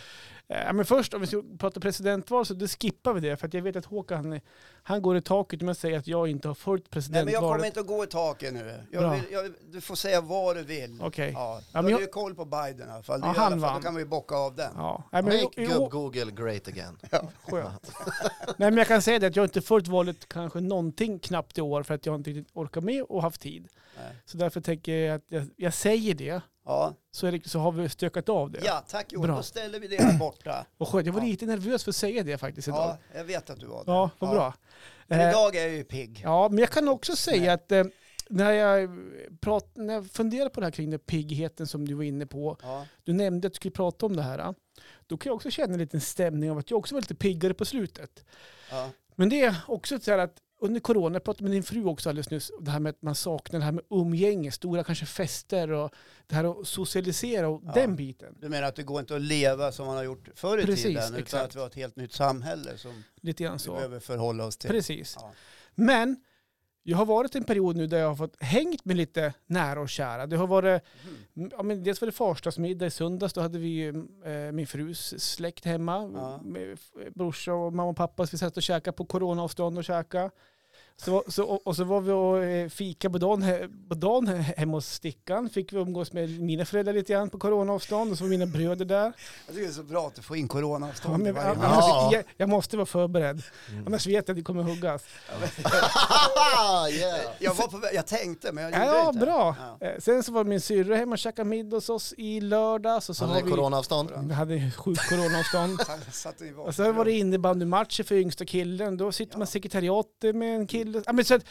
S1: Eh, men först om vi ska prata presidentval så det skippar vi det. För att jag vet att Håkan han går i taket om jag säger att jag inte har följt
S2: Nej, men jag kommer
S1: presidentvalet.
S2: inte att gå i taket nu. Jag
S1: Bra.
S2: vill, jag, du får säga vad du vill.
S1: Okej.
S2: Ja.
S1: Ja, men
S2: du har
S1: jag-
S2: ju koll på Biden i alla fall. Det
S1: Ja,
S2: gör i alla
S1: han
S2: fall.
S1: vann.
S2: Då kan vi ju bocka av den.
S1: Ja, nej, men
S3: Make
S1: i- i år-
S3: gubb-Google great again.
S1: Skönt. Nej men jag kan säga det att jag har inte följt valet kanske någonting knappt i år för att jag inte riktigt orkar med och haft tid.
S2: Nej.
S1: Så därför tänker jag att jag, jag säger det
S2: Ja.
S1: så, är det, så har vi stökat av det.
S2: ja, tack Johan.
S1: Bra.
S2: Då ställer vi det här borta.
S1: Och skönt, jag var
S2: Ja.
S1: lite nervös för att säga det faktiskt idag.
S2: Ja,
S1: Ja,
S2: jag vet att du var det.
S1: vad bra.
S2: Men
S1: Eh,
S2: idag är jag ju pigg.
S1: Ja, men jag kan också säga att eh, när, jag prat, när jag funderar på det här kring den piggheten som du var inne på,
S2: Ja.
S1: du nämnde att du skulle prata om det här, eh. då kan jag också känna en liten stämning av att jag också var lite piggare på slutet.
S2: Ja.
S1: Men det är också så här att under corona, jag pratade med din fru också alldeles nyss, det här med att man saknar det här med umgänge, stora kanske fester och det här att socialisera och
S2: Ja.
S1: den biten.
S2: Du menar att det går inte att leva som man har gjort förr i
S1: Precis,
S2: tiden utan
S1: exakt.
S2: att vi har ett helt nytt samhälle som
S1: Lite grann
S2: vi
S1: så.
S2: behöver förhålla oss till.
S1: Precis.
S2: Typ. Ja.
S1: Men jag har varit i en period nu där jag har fått hängt med lite nära och kära. Det har varit, ja, men dels var det farsdagsmiddag i söndags, då hade vi ju eh, min frus släkt hemma.
S2: Ja.
S1: Med f- brorsa och mamma och pappa, så vi satt och käkade på coronaavstånd och käkade. Så, så, och, och så var vi och eh, fika på dagen, he- på dagen he- hemma hos Stickan. Fick vi umgås med mina föräldrar lite grann på coronaavstånd och så var mina bröder där.
S2: Jag tycker det är så bra att du får in
S1: Ja,
S2: coronaavstånd i
S1: men,
S2: varje
S3: ja,
S2: match.
S1: jag, jag, jag måste vara förberedd, annars vet jag att det kommer huggas.
S3: yeah.
S2: Jag, var på, vä- jag tänkte men jag gjorde
S1: Ja,
S2: inte.
S1: bra.
S2: Ja.
S1: Eh, Sen så var min syrra hemma och käkade middag hos oss i lördags. Och så
S3: Han
S1: har
S3: är
S1: vi,
S3: coronaavstånd.
S1: vi hade sjukt coronaavstånd.
S2: Han satt i
S1: och sen var det innebandymatcher för yngsta killen. Då sitter man i sekretariatet med en kille. Ja, men så att,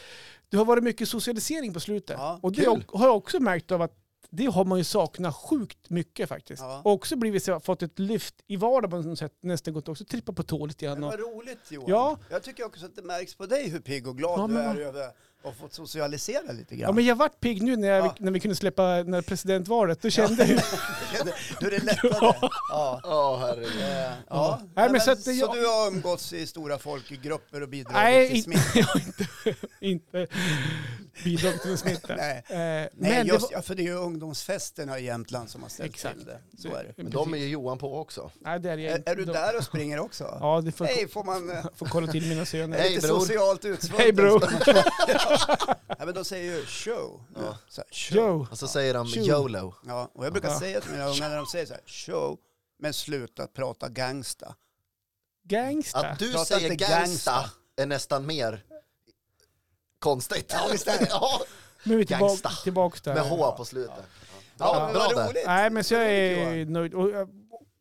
S1: det har varit mycket socialisering på slutet.
S2: Ja,
S1: och det
S3: kul.
S1: har jag också märkt av att det har man ju saknat sjukt mycket faktiskt.
S2: Ja.
S1: Och också blivit så, fått ett lyft i vardagen på något sätt. Nästan gått också trippa på tå lite
S2: Men
S1: grann. Och,
S2: vad roligt Johan.
S1: Ja.
S2: Jag tycker också att det märks på dig hur pigg och glad
S1: Ja,
S2: du
S1: men
S2: är
S1: vad-
S2: över att ha fått socialisera lite
S1: ja,
S2: grann.
S1: men jag vart pigg nu när, jag,
S2: Ja.
S1: när vi kunde släppa när presidentvalet. Då kände jag ju
S2: Du är det lättare. Ja.
S3: Åh, herregud.
S2: Eh, Ja.
S1: men
S2: men
S1: så att det-
S2: så du har umgåtts i stora folkgrupper och bidragit
S1: Nej,
S2: till
S1: inte,
S2: smitt?
S1: jag har inte, inte bidragit till en smitta.
S2: Nej.
S1: Eh,
S2: Nej,
S1: men
S2: just,
S1: det
S2: ja, för det är ju ungdomsfesterna i Jämtland som har ställt
S1: Exakt.
S2: till det. Så
S1: var,
S2: är det.
S3: Men de är ju Johan på också.
S1: Nej, det är jag
S2: Är,
S1: inte.
S2: är du
S1: De-
S2: där och springer också?
S1: Ja, det får,
S2: Nej, får man... eh,
S1: får kolla till mina söner.
S3: Hej,
S2: lite
S3: bror.
S2: socialt utsvulten.
S1: Hej, bror.
S2: ska man- ja, men de säger ju show.
S3: Ja.
S2: Så här, show.
S1: Joe,
S3: Och så säger de
S1: Tjo.
S3: YOLO.
S2: Ja, och jag brukar
S1: Ja.
S2: säga till mina ungar när de säger så här, show, men sluta prata gangsta.
S1: gangsta.
S3: Att du
S2: Prata
S3: säger
S2: inte
S3: gangsta,
S2: gangsta.
S3: är nästan mer konstigt.
S2: Ja, visst är det.
S3: Ja,
S1: nu är vi tillbaka,
S3: gangsta.
S1: tillbaka där.
S3: med H på slutet.
S2: Ja,
S3: Bra,
S2: men
S3: bra
S2: vad
S3: där.
S2: roligt.
S1: Nej, men så
S2: Vad
S1: jag
S2: roligt,
S1: är
S2: Johan.
S1: nöjd. Och jag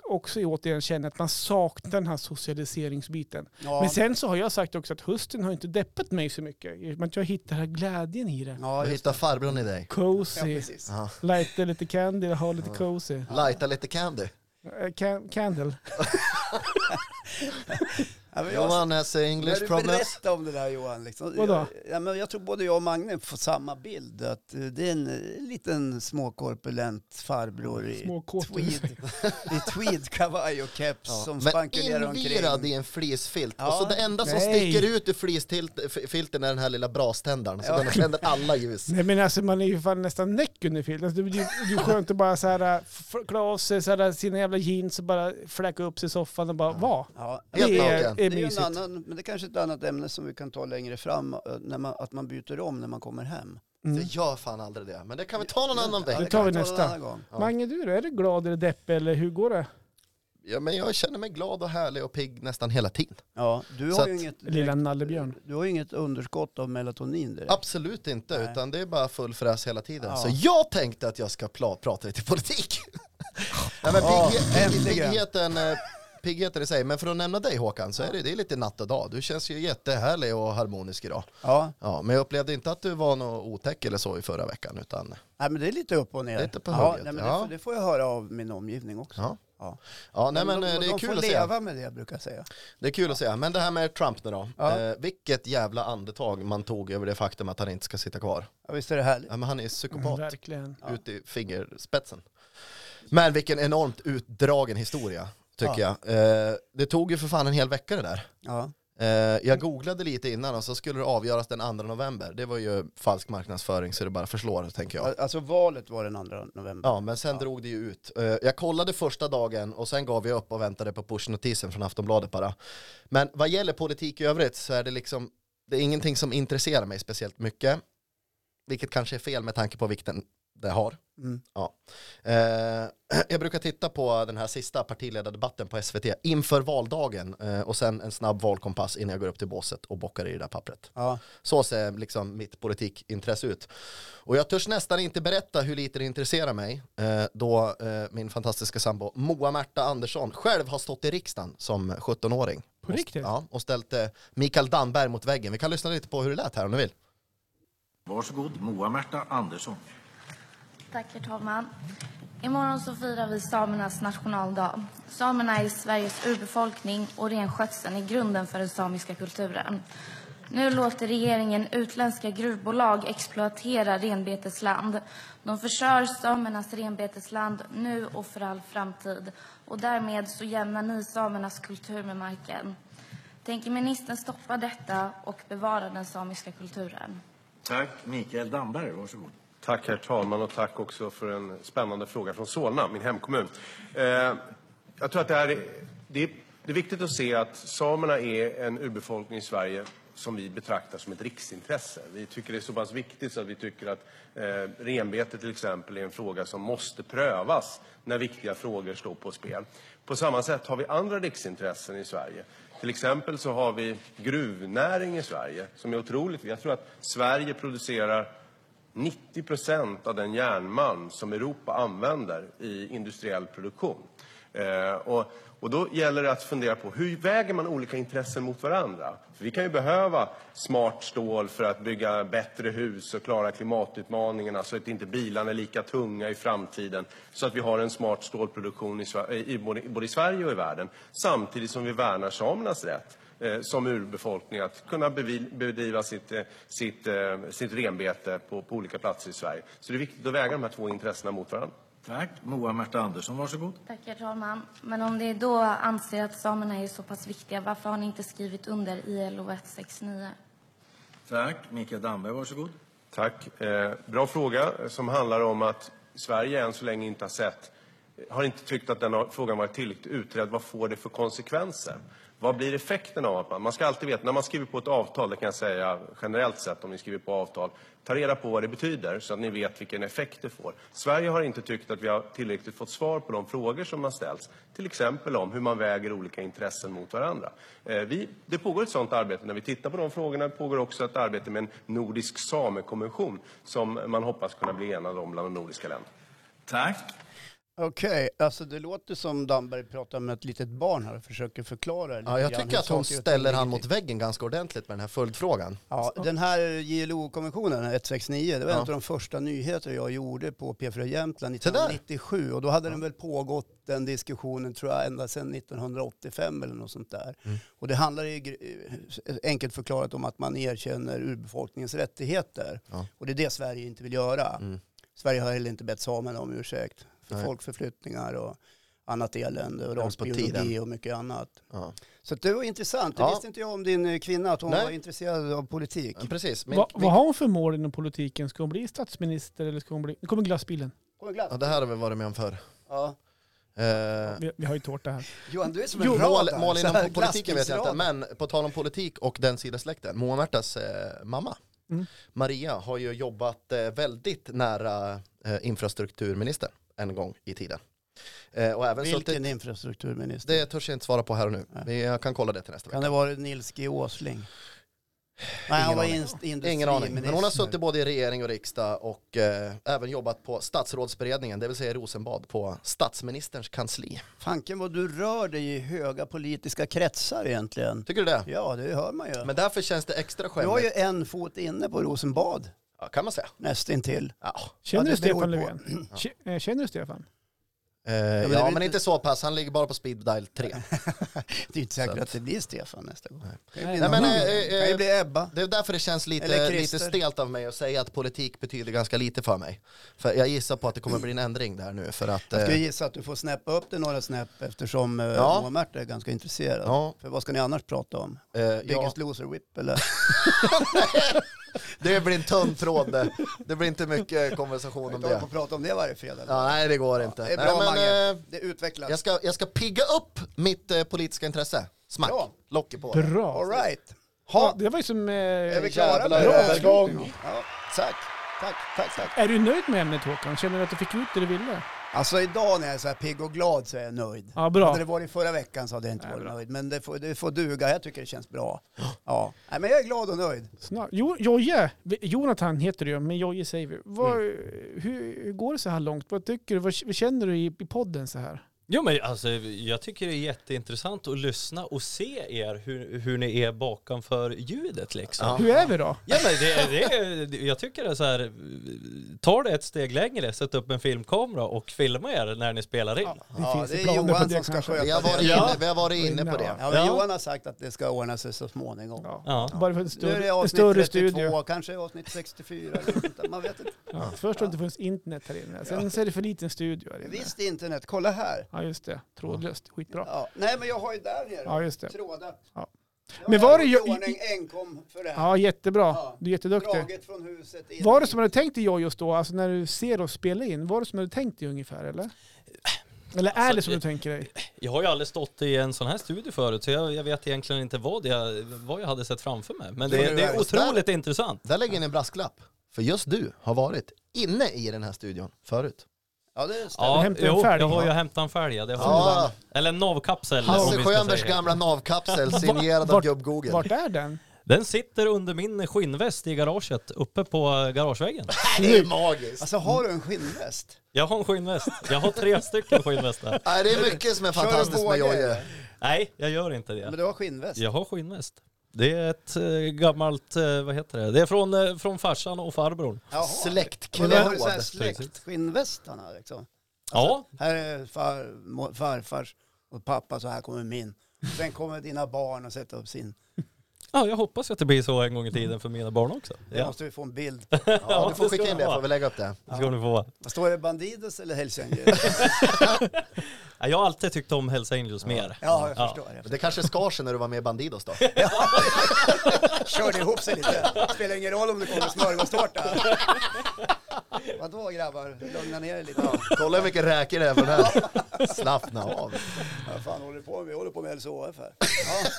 S1: också återigen känner att man saknar den här socialiseringsbiten.
S2: Ja.
S1: Men sen så har jag sagt också att hösten har inte deppat mig så mycket. i och med att Jag hittar den här glädjen i det.
S2: Ja,
S3: Och
S2: just,
S3: hitta farbrorn i dig.
S2: ja,
S1: Cozy.
S2: precis.
S3: Ja.
S1: Lighta lite candy, ha lite cozy.
S3: Lighta lite candy.
S1: Eh, can- Candle.
S2: Ja, men jag,
S3: Johan has
S2: när
S3: English
S2: du
S3: problems.
S2: berättade om det där Johan, liksom,
S1: Vadå?
S2: jag, ja, men jag tror både jag och Magne får samma bild. Att eh, det är en eh, liten småkorpulent farbror i
S1: Småkåtor.
S2: tweed, i tweedkavaj och keps
S3: Ja.
S2: som
S3: Men
S2: spankulerar omkring.
S3: invirad i en flisfilt.
S2: Ja.
S3: Och så det enda som
S1: Nej.
S3: sticker ut ur flisfilten är den här lilla braständaren. Så
S2: Ja.
S3: den tänder alla ljus.
S1: Nej men alltså man är ju fan nästan näck under filmen. Alltså, det, är ju- det är ju skönt att bara så här, äh, f- klä av sig så här, sina jävla jeans och bara fläka upp sig i soffan och bara vara.
S2: Ja,
S1: Det
S3: Helt
S1: är,
S3: naken.
S1: är
S2: det är ju en
S1: mysigt.
S2: annan, men det är kanske är ett annat ämne som vi kan ta längre fram, eh, när man, att man byter om när man kommer hem.
S3: Det gör fan aldrig det. Men det kan vi ta någon
S2: Mm.
S3: annan
S2: Ja,
S3: vecka.
S2: det
S1: Nu tar
S2: kan
S1: vi
S2: ta någon
S1: nästa.
S2: annan gång.
S3: Ja.
S1: Mange du då, är du glad eller deppig eller hur går det?
S3: Ja, men jag känner mig glad och härlig och pigg nästan hela tiden.
S2: Ja, du
S3: Så
S2: har ju
S3: att-
S2: inget,
S1: Lilla nallebjörn.
S2: Eh, du har ju inget underskott av melatonin direkt.
S3: Absolut inte,
S2: Nej.
S3: utan det är bara full fräs hela tiden.
S2: Ja.
S3: Så jag tänkte att jag ska pla- prata lite politik. Nej, men
S2: Ja,
S3: pigghe- pigg-
S2: äntligen.
S3: piggheten, eh, piggheten i sig, men för att nämna dig Håkan, så är det, det är lite natt och dag. Du känns ju jättehärlig och harmonisk idag.
S2: Ja,
S3: Ja, men jag upplevde inte att du var något otäck eller så i förra veckan, utan
S2: nej, men det är lite upp och ner.
S3: Lite på
S2: ja,
S3: hugget,
S2: nej, men
S3: ja.
S2: det, får- det får jag höra av min omgivning också.
S3: ja.
S2: Ja.
S3: Ja, nej men eh,
S2: de,
S3: det är
S2: de
S3: kul
S2: får
S3: att se.
S2: leva med det brukar jag säga.
S3: Det är kul att se. Men det här med Trump nu då.
S2: Ja.
S3: Eh, vilket jävla andetag man tog över det faktum att han inte ska sitta kvar.
S2: Ja, visst är det härligt?
S3: Ja, men han är psykopat.
S1: Verkligen.
S2: Ja.
S3: ut i fingerspetsen. Men vilken enormt utdragen historia, tycker jag. Eh, det tog ju för fan en hel vecka det där.
S2: Ja.
S3: Eh, jag googlade lite innan och så skulle det avgöras den 2 november. Det var ju falsk marknadsföring så det bara förslår, tänker jag.
S2: Alltså valet var den 2 november.
S3: Ja, men sen drog det ju ut. Eh, jag kollade första dagen och sen gav jag upp och väntade på pushnotisen från Aftonbladet bara. Men vad gäller politik i övrigt så är det liksom, det är ingenting som intresserar mig speciellt mycket. Vilket kanske är fel med tanke på vikten det har.
S2: Mm.
S3: Ja. Eh, jag brukar titta på den här sista partiledardebatten på SVT inför valdagen eh, och sen en snabb valkompass innan jag går upp till båset och bockar i det där pappret.
S2: Ja.
S3: Så ser liksom mitt politikintresse ut. Och jag törs nästan inte berätta hur lite det intresserar mig eh, då eh, min fantastiska sambo Moa Märta Andersson själv har stått i riksdagen som 17-åring.
S1: På
S3: Och-
S1: riktigt?
S3: Ja, och ställt eh, Mikael Damberg mot väggen. Vi kan lyssna lite på hur det lät här om du vill.
S1: Mm.
S5: Varsågod, Moa-Märta Andersson.
S6: Tack herr talman. Imorgon så firar vi samernas nationaldag. Samerna är Sveriges urbefolkning och renskötseln är grunden för den samiska kulturen. Nu låter regeringen utländska gruvbolag exploatera renbetesland. De förstör samernas renbetesland nu och för all framtid. Och därmed så jämnar ni samernas kultur med marken. Tänker ministern stoppa detta och bevara den samiska kulturen?
S5: Tack, Mikael Damberg, varsågod.
S7: Tack herr talman och tack också för en spännande fråga från Solna, min hemkommun. Eh, jag tror att det här är, det, är, det är viktigt att se att samerna är en urbefolkning i Sverige som vi betraktar som ett riksintresse. Vi tycker det är så pass viktigt så att vi tycker att eh, renbete till exempel är en fråga som måste prövas när viktiga frågor står på spel. På samma sätt har vi andra riksintressen i Sverige. Till exempel så har vi gruvnäring i Sverige som är otroligt. Jag tror att Sverige producerar 90 procent av den järnmalm som Europa använder i industriell produktion. Eh, och, och då gäller det att fundera på hur väger man olika intressen mot varandra? För vi kan ju behöva smart stål för att bygga bättre hus och klara klimatutmaningarna så att inte bilarna är lika tunga i framtiden. Så att vi har en smart stålproduktion i, Sve- eh, i, både, både i Sverige och i världen. Samtidigt som vi värnar samernas rätt eh, som urbefolkning att kunna bevi- bedriva sitt, eh, sitt, eh, sitt renbete på, på olika platser i Sverige. Så det är viktigt att väga de här två intressena mot varandra.
S5: Tack, Moa Märta Andersson, varsågod.
S6: Tack, herr talman. Men om ni då anser att samerna är så pass viktiga, varför har ni inte skrivit under ILO 169?
S5: Tack, Mikael Damberg, varsågod.
S7: Tack. Eh, bra fråga eh, som handlar om att Sverige än så länge inte har sett, eh, har inte tyckt att den har- frågan varit tillräckligt utredd. Vad får det för konsekvenser? Vad blir effekten av att man, man ska alltid veta, när man skriver på ett avtal, det kan jag säga generellt sett om ni skriver på avtal, ta reda på vad det betyder så att ni vet vilken effekt det får. Sverige har inte tyckt att vi har tillräckligt fått svar på de frågor som har ställts, till exempel om hur man väger olika intressen mot varandra. Eh, vi, det pågår ett sådant arbete när vi tittar på de frågorna. Det pågår också ett arbete med en nordisk samekonvention som man hoppas kunna bli enad om bland de nordiska länderna.
S5: Tack.
S2: Okej, alltså det låter som Damberg pratar med ett litet barn här och försöker förklara lite
S3: Ja, jag
S2: grann
S3: tycker
S2: hur
S3: att hon
S2: saker och ting
S3: ställer
S2: ligger
S3: han
S2: till.
S3: mot väggen ganska ordentligt med den här följdfrågan.
S2: Ja, den här ILO-konventionen, 169, det var en av de första nyheter jag gjorde på P4 Jämtland
S3: Se där.
S2: 1997. Och då hade den väl pågått, den diskussionen, tror jag, ända sedan 1985 eller något sånt där.
S3: Mm.
S2: Och det handlar ju, gr- enkelt förklarat om att man erkänner urbefolkningens rättigheter. Och det är det Sverige inte vill göra. Sverige har heller inte bett samerna om ursäkt för
S3: Mm. Nej.
S2: folkförflyttningar och annat elände och
S3: Det är väl på
S2: rasbiologi
S3: tiden.
S2: och mycket annat.
S3: Ja.
S2: Så att det var intressant. Det
S3: Ja.
S2: visste inte jag om din eh, kvinna, att hon
S3: Nej.
S2: var intresserad av politik.
S3: Precis. Min,
S1: Va, vad har hon för mål inom politiken? Ska hon bli statsminister eller ska hon bli... Nu kommer glassbilen.
S2: Kommer glatt.
S3: ja, det här har vi varit med om förr.
S2: Ja.
S3: Eh,
S1: Vi, vi har ju tårta här.
S2: Johan, du är som
S3: Jo,
S2: en
S3: mål,
S2: radar.
S3: mål
S2: Så
S3: inom
S2: här,
S3: po- politiken vet jag inte,
S2: glassbilsradar.
S3: men på tal om politik och den sidosläkten, Moa Märtas eh, mamma,
S1: Mm.
S3: Maria, har ju jobbat eh, väldigt nära eh, infrastrukturminister en gång i tiden. Eh, och även
S2: Vilken
S3: suttit,
S2: infrastrukturminister?
S3: det törs jag inte svara på här och nu, men jag kan kolla det till nästa
S2: Kan
S3: vecka.
S2: det vara Nils G Åsling? Nej, han var
S3: aning.
S2: inst-
S3: Ingen aning, men hon har suttit
S2: industriminister.
S3: både i regering och riksdag och eh, även jobbat på statsrådsberedningen, det vill säga i Rosenbad, på statsministerns kansli.
S2: Fanken vad du rör dig i höga politiska kretsar egentligen.
S3: Tycker du det?
S2: Ja, det hör man ju.
S3: Men därför känns det extra
S2: Du har
S3: skämmigt,
S2: ju en fot inne på Rosenbad,
S3: ja, kan man säga.
S2: nästintill.
S3: Ja.
S1: Känner du
S2: Ja, det beror
S1: Stefan
S2: på.
S1: Löfven? K- eh, Känner du Stefan?
S3: Eh,
S2: men det
S3: ja,
S2: är väl
S3: men
S2: inte-
S3: inte så pass. Han ligger bara på speed dial 3.
S2: Det är inte säkert
S3: Så.
S2: att det blir Stefan nästa gång. Det kan ju
S1: Nej,
S2: bli
S3: Nej,
S2: någon
S3: men,
S2: annan.
S3: eh,
S2: Det kan ju
S3: eh,
S2: bli Ebba.
S3: Det är därför det känns
S2: Eller
S3: lite,
S2: Christer.
S3: lite stelt av mig att säga att politik betyder ganska lite för mig. För jag gissar på att det kommer bli en ändring där nu för att...
S2: Jag
S3: Eh,
S2: skulle gissa att du får snäppa upp det några snäpp eftersom eh,
S3: Ja.
S2: Moa Märta är ganska intresserad.
S3: Ja.
S2: För vad ska ni annars prata om?
S3: eh, ja,
S2: Biggest loser whip eller?
S3: det blir en tunn tråd. det. Det blir inte mycket konversation
S2: Jag
S3: om
S2: tar på
S3: det.
S2: att prata om det varje fredag.
S3: Ja, nej, det går inte.
S2: det är bra
S3: nej,
S2: Mange,
S3: eh,
S2: det utvecklas.
S3: jag, ska, jag ska pigga upp mitt eh, politiska intresse. Smack,
S2: Ja.
S3: locket på.
S2: All
S1: Bra!
S2: right.
S1: Ja,
S2: Ha,
S1: det var ju som... Eh,
S2: är vi
S1: är,
S2: klara med
S1: Bra.
S2: det? Ja, tack. Tack, tack, tack.
S1: du nöjd med ämnet Håkan? Känner du att du fick ut det du ville?
S2: Alltså idag när jag är så här pigg och glad så är jag nöjd.
S1: Ja, bra.
S2: Hade det varit förra veckan så hade jag inte varit nöjd. Men det får, det får duga, jag tycker det känns bra. Ja. Nej, men jag är glad och nöjd.
S1: Snart. Jo, Joje, vi- Jonathan heter du ju, men Joje
S2: Mm.
S1: säger vi. Vad, hur, hur går det så här långt? Vad tycker du? Vad, k- vad känner du i, i podden så här?
S4: Jo men alltså jag tycker det är jätteintressant att lyssna och se er hur, hur ni är bakanför ljudet liksom. Ja.
S1: Hur är vi då?
S4: men det, det, är- jag tycker det är så här, ta det ett steg längre, sätt upp en filmkamera och filma er när ni spelar in.
S1: Det
S2: Ja,
S1: finns
S2: det
S1: ju
S2: är
S1: planer på
S2: Johan
S1: det
S2: som ska
S1: kanske.
S2: sköta
S3: Vi har varit
S4: Ja.
S3: inne, vi har varit inne på det.
S2: Ja, men
S4: Ja.
S2: Johan har sagt att det ska ordna sig så småningom.
S1: Ja.
S4: Ja.
S1: Bara för en,
S2: Nu är
S1: större,
S2: det
S1: en
S2: avsnitt
S1: större
S2: 32,
S1: studio.
S2: kanske avsnitt 64. eller något sånt där. Man vet inte.
S1: Ja. Först har det inte funnits internet här inne. Sen så är det för liten studio här inne.
S2: Visst internet, kolla här.
S1: Ja, just det. Trådlöst. Skitbra.
S2: Ja. Nej, men jag har ju där nere.
S1: Ja, just det.
S2: Trådat.
S1: Ja.
S2: Jag
S1: Men
S2: har
S1: var det
S2: gjort i
S1: ju-
S2: ordning enkom för det här.
S1: Ja, jättebra.
S2: Ja.
S1: Du är jätteduktig.
S2: Draget från huset in.
S1: Var det som du tänkte jag just då, alltså när du ser oss spela in, var det som du tänkte dig ungefär
S2: Äh.
S1: eller? Eller är
S4: Alltså,
S1: det som du
S4: det-
S1: tänker dig?
S4: Jag har ju aldrig stått i en sån här studio förut så jag, jag vet egentligen inte vad jag, vad jag hade sett framför mig. Men
S3: Men
S4: det,
S3: du
S4: det
S3: är
S4: är otroligt intressant.
S3: Där lägger jag in en brasklapp. För just du har varit inne i den här studion förut.
S2: Ja, det stämmer.
S4: Ja,
S1: hämtar en
S4: jo,
S1: fälg,
S4: jag har
S1: va?
S4: ju hämtat en fälg. ja, Det har
S3: Ja.
S4: jag. Eller en navkapsel. om vi
S3: Hasse
S4: ska
S3: Schönbergs
S4: säga.
S3: gamla navkapsel signerad av
S1: Vart-
S3: gubb-Google.
S1: Vart är den?
S4: Den sitter under min skinnväst i garaget, uppe på eh, garageväggen.
S3: Det är magiskt.
S2: Alltså har du en skinnväst?
S4: Jag har en skinnväst. Jag har tre stycken skinnvästar.
S3: Nej, det är mycket som är fantastiskt med
S2: båge,
S3: Jojje.
S2: eller?
S4: Nej, jag gör inte det.
S2: Men du har skinnväst?
S4: Jag har skinnväst. Det är ett eh, gammalt, eh, vad heter det? Det är från, eh, från farsan och farbror.
S2: Jaha. Och då har du så här
S3: Släktknåd.
S2: släktskinnvästarna liksom.
S4: Ja,
S2: Här är far, farfars och pappa, så här kommer min. Sen kommer dina barn och sätter upp sin.
S4: ja, jag hoppas att det blir så en gång i tiden för mina barn också.
S2: Det
S4: Ja,
S2: måste vi få en bild.
S3: Ja, du får
S4: det ska
S3: skicka in
S4: ni
S3: det,
S4: ha.
S3: får vi lägga upp det.
S4: Det ska ni få.
S2: Står det Bandidos eller Hells Angels?
S4: Ja, Jag har alltid tyckt om Hells Angels mer.
S2: Ja, jag förstår.
S3: Men Det kanske skar sig när du var med i Bandidos då.
S2: Körde ihop sig lite. Spelar ingen roll om det kommer smörgåstårta. Vadå grabbar, lugna ner er lite.
S3: Kolla hur mycket räkor det är på den här. Slappna av.
S2: Vad fan håller du på med? Vi håller på med LCHF här. Ja,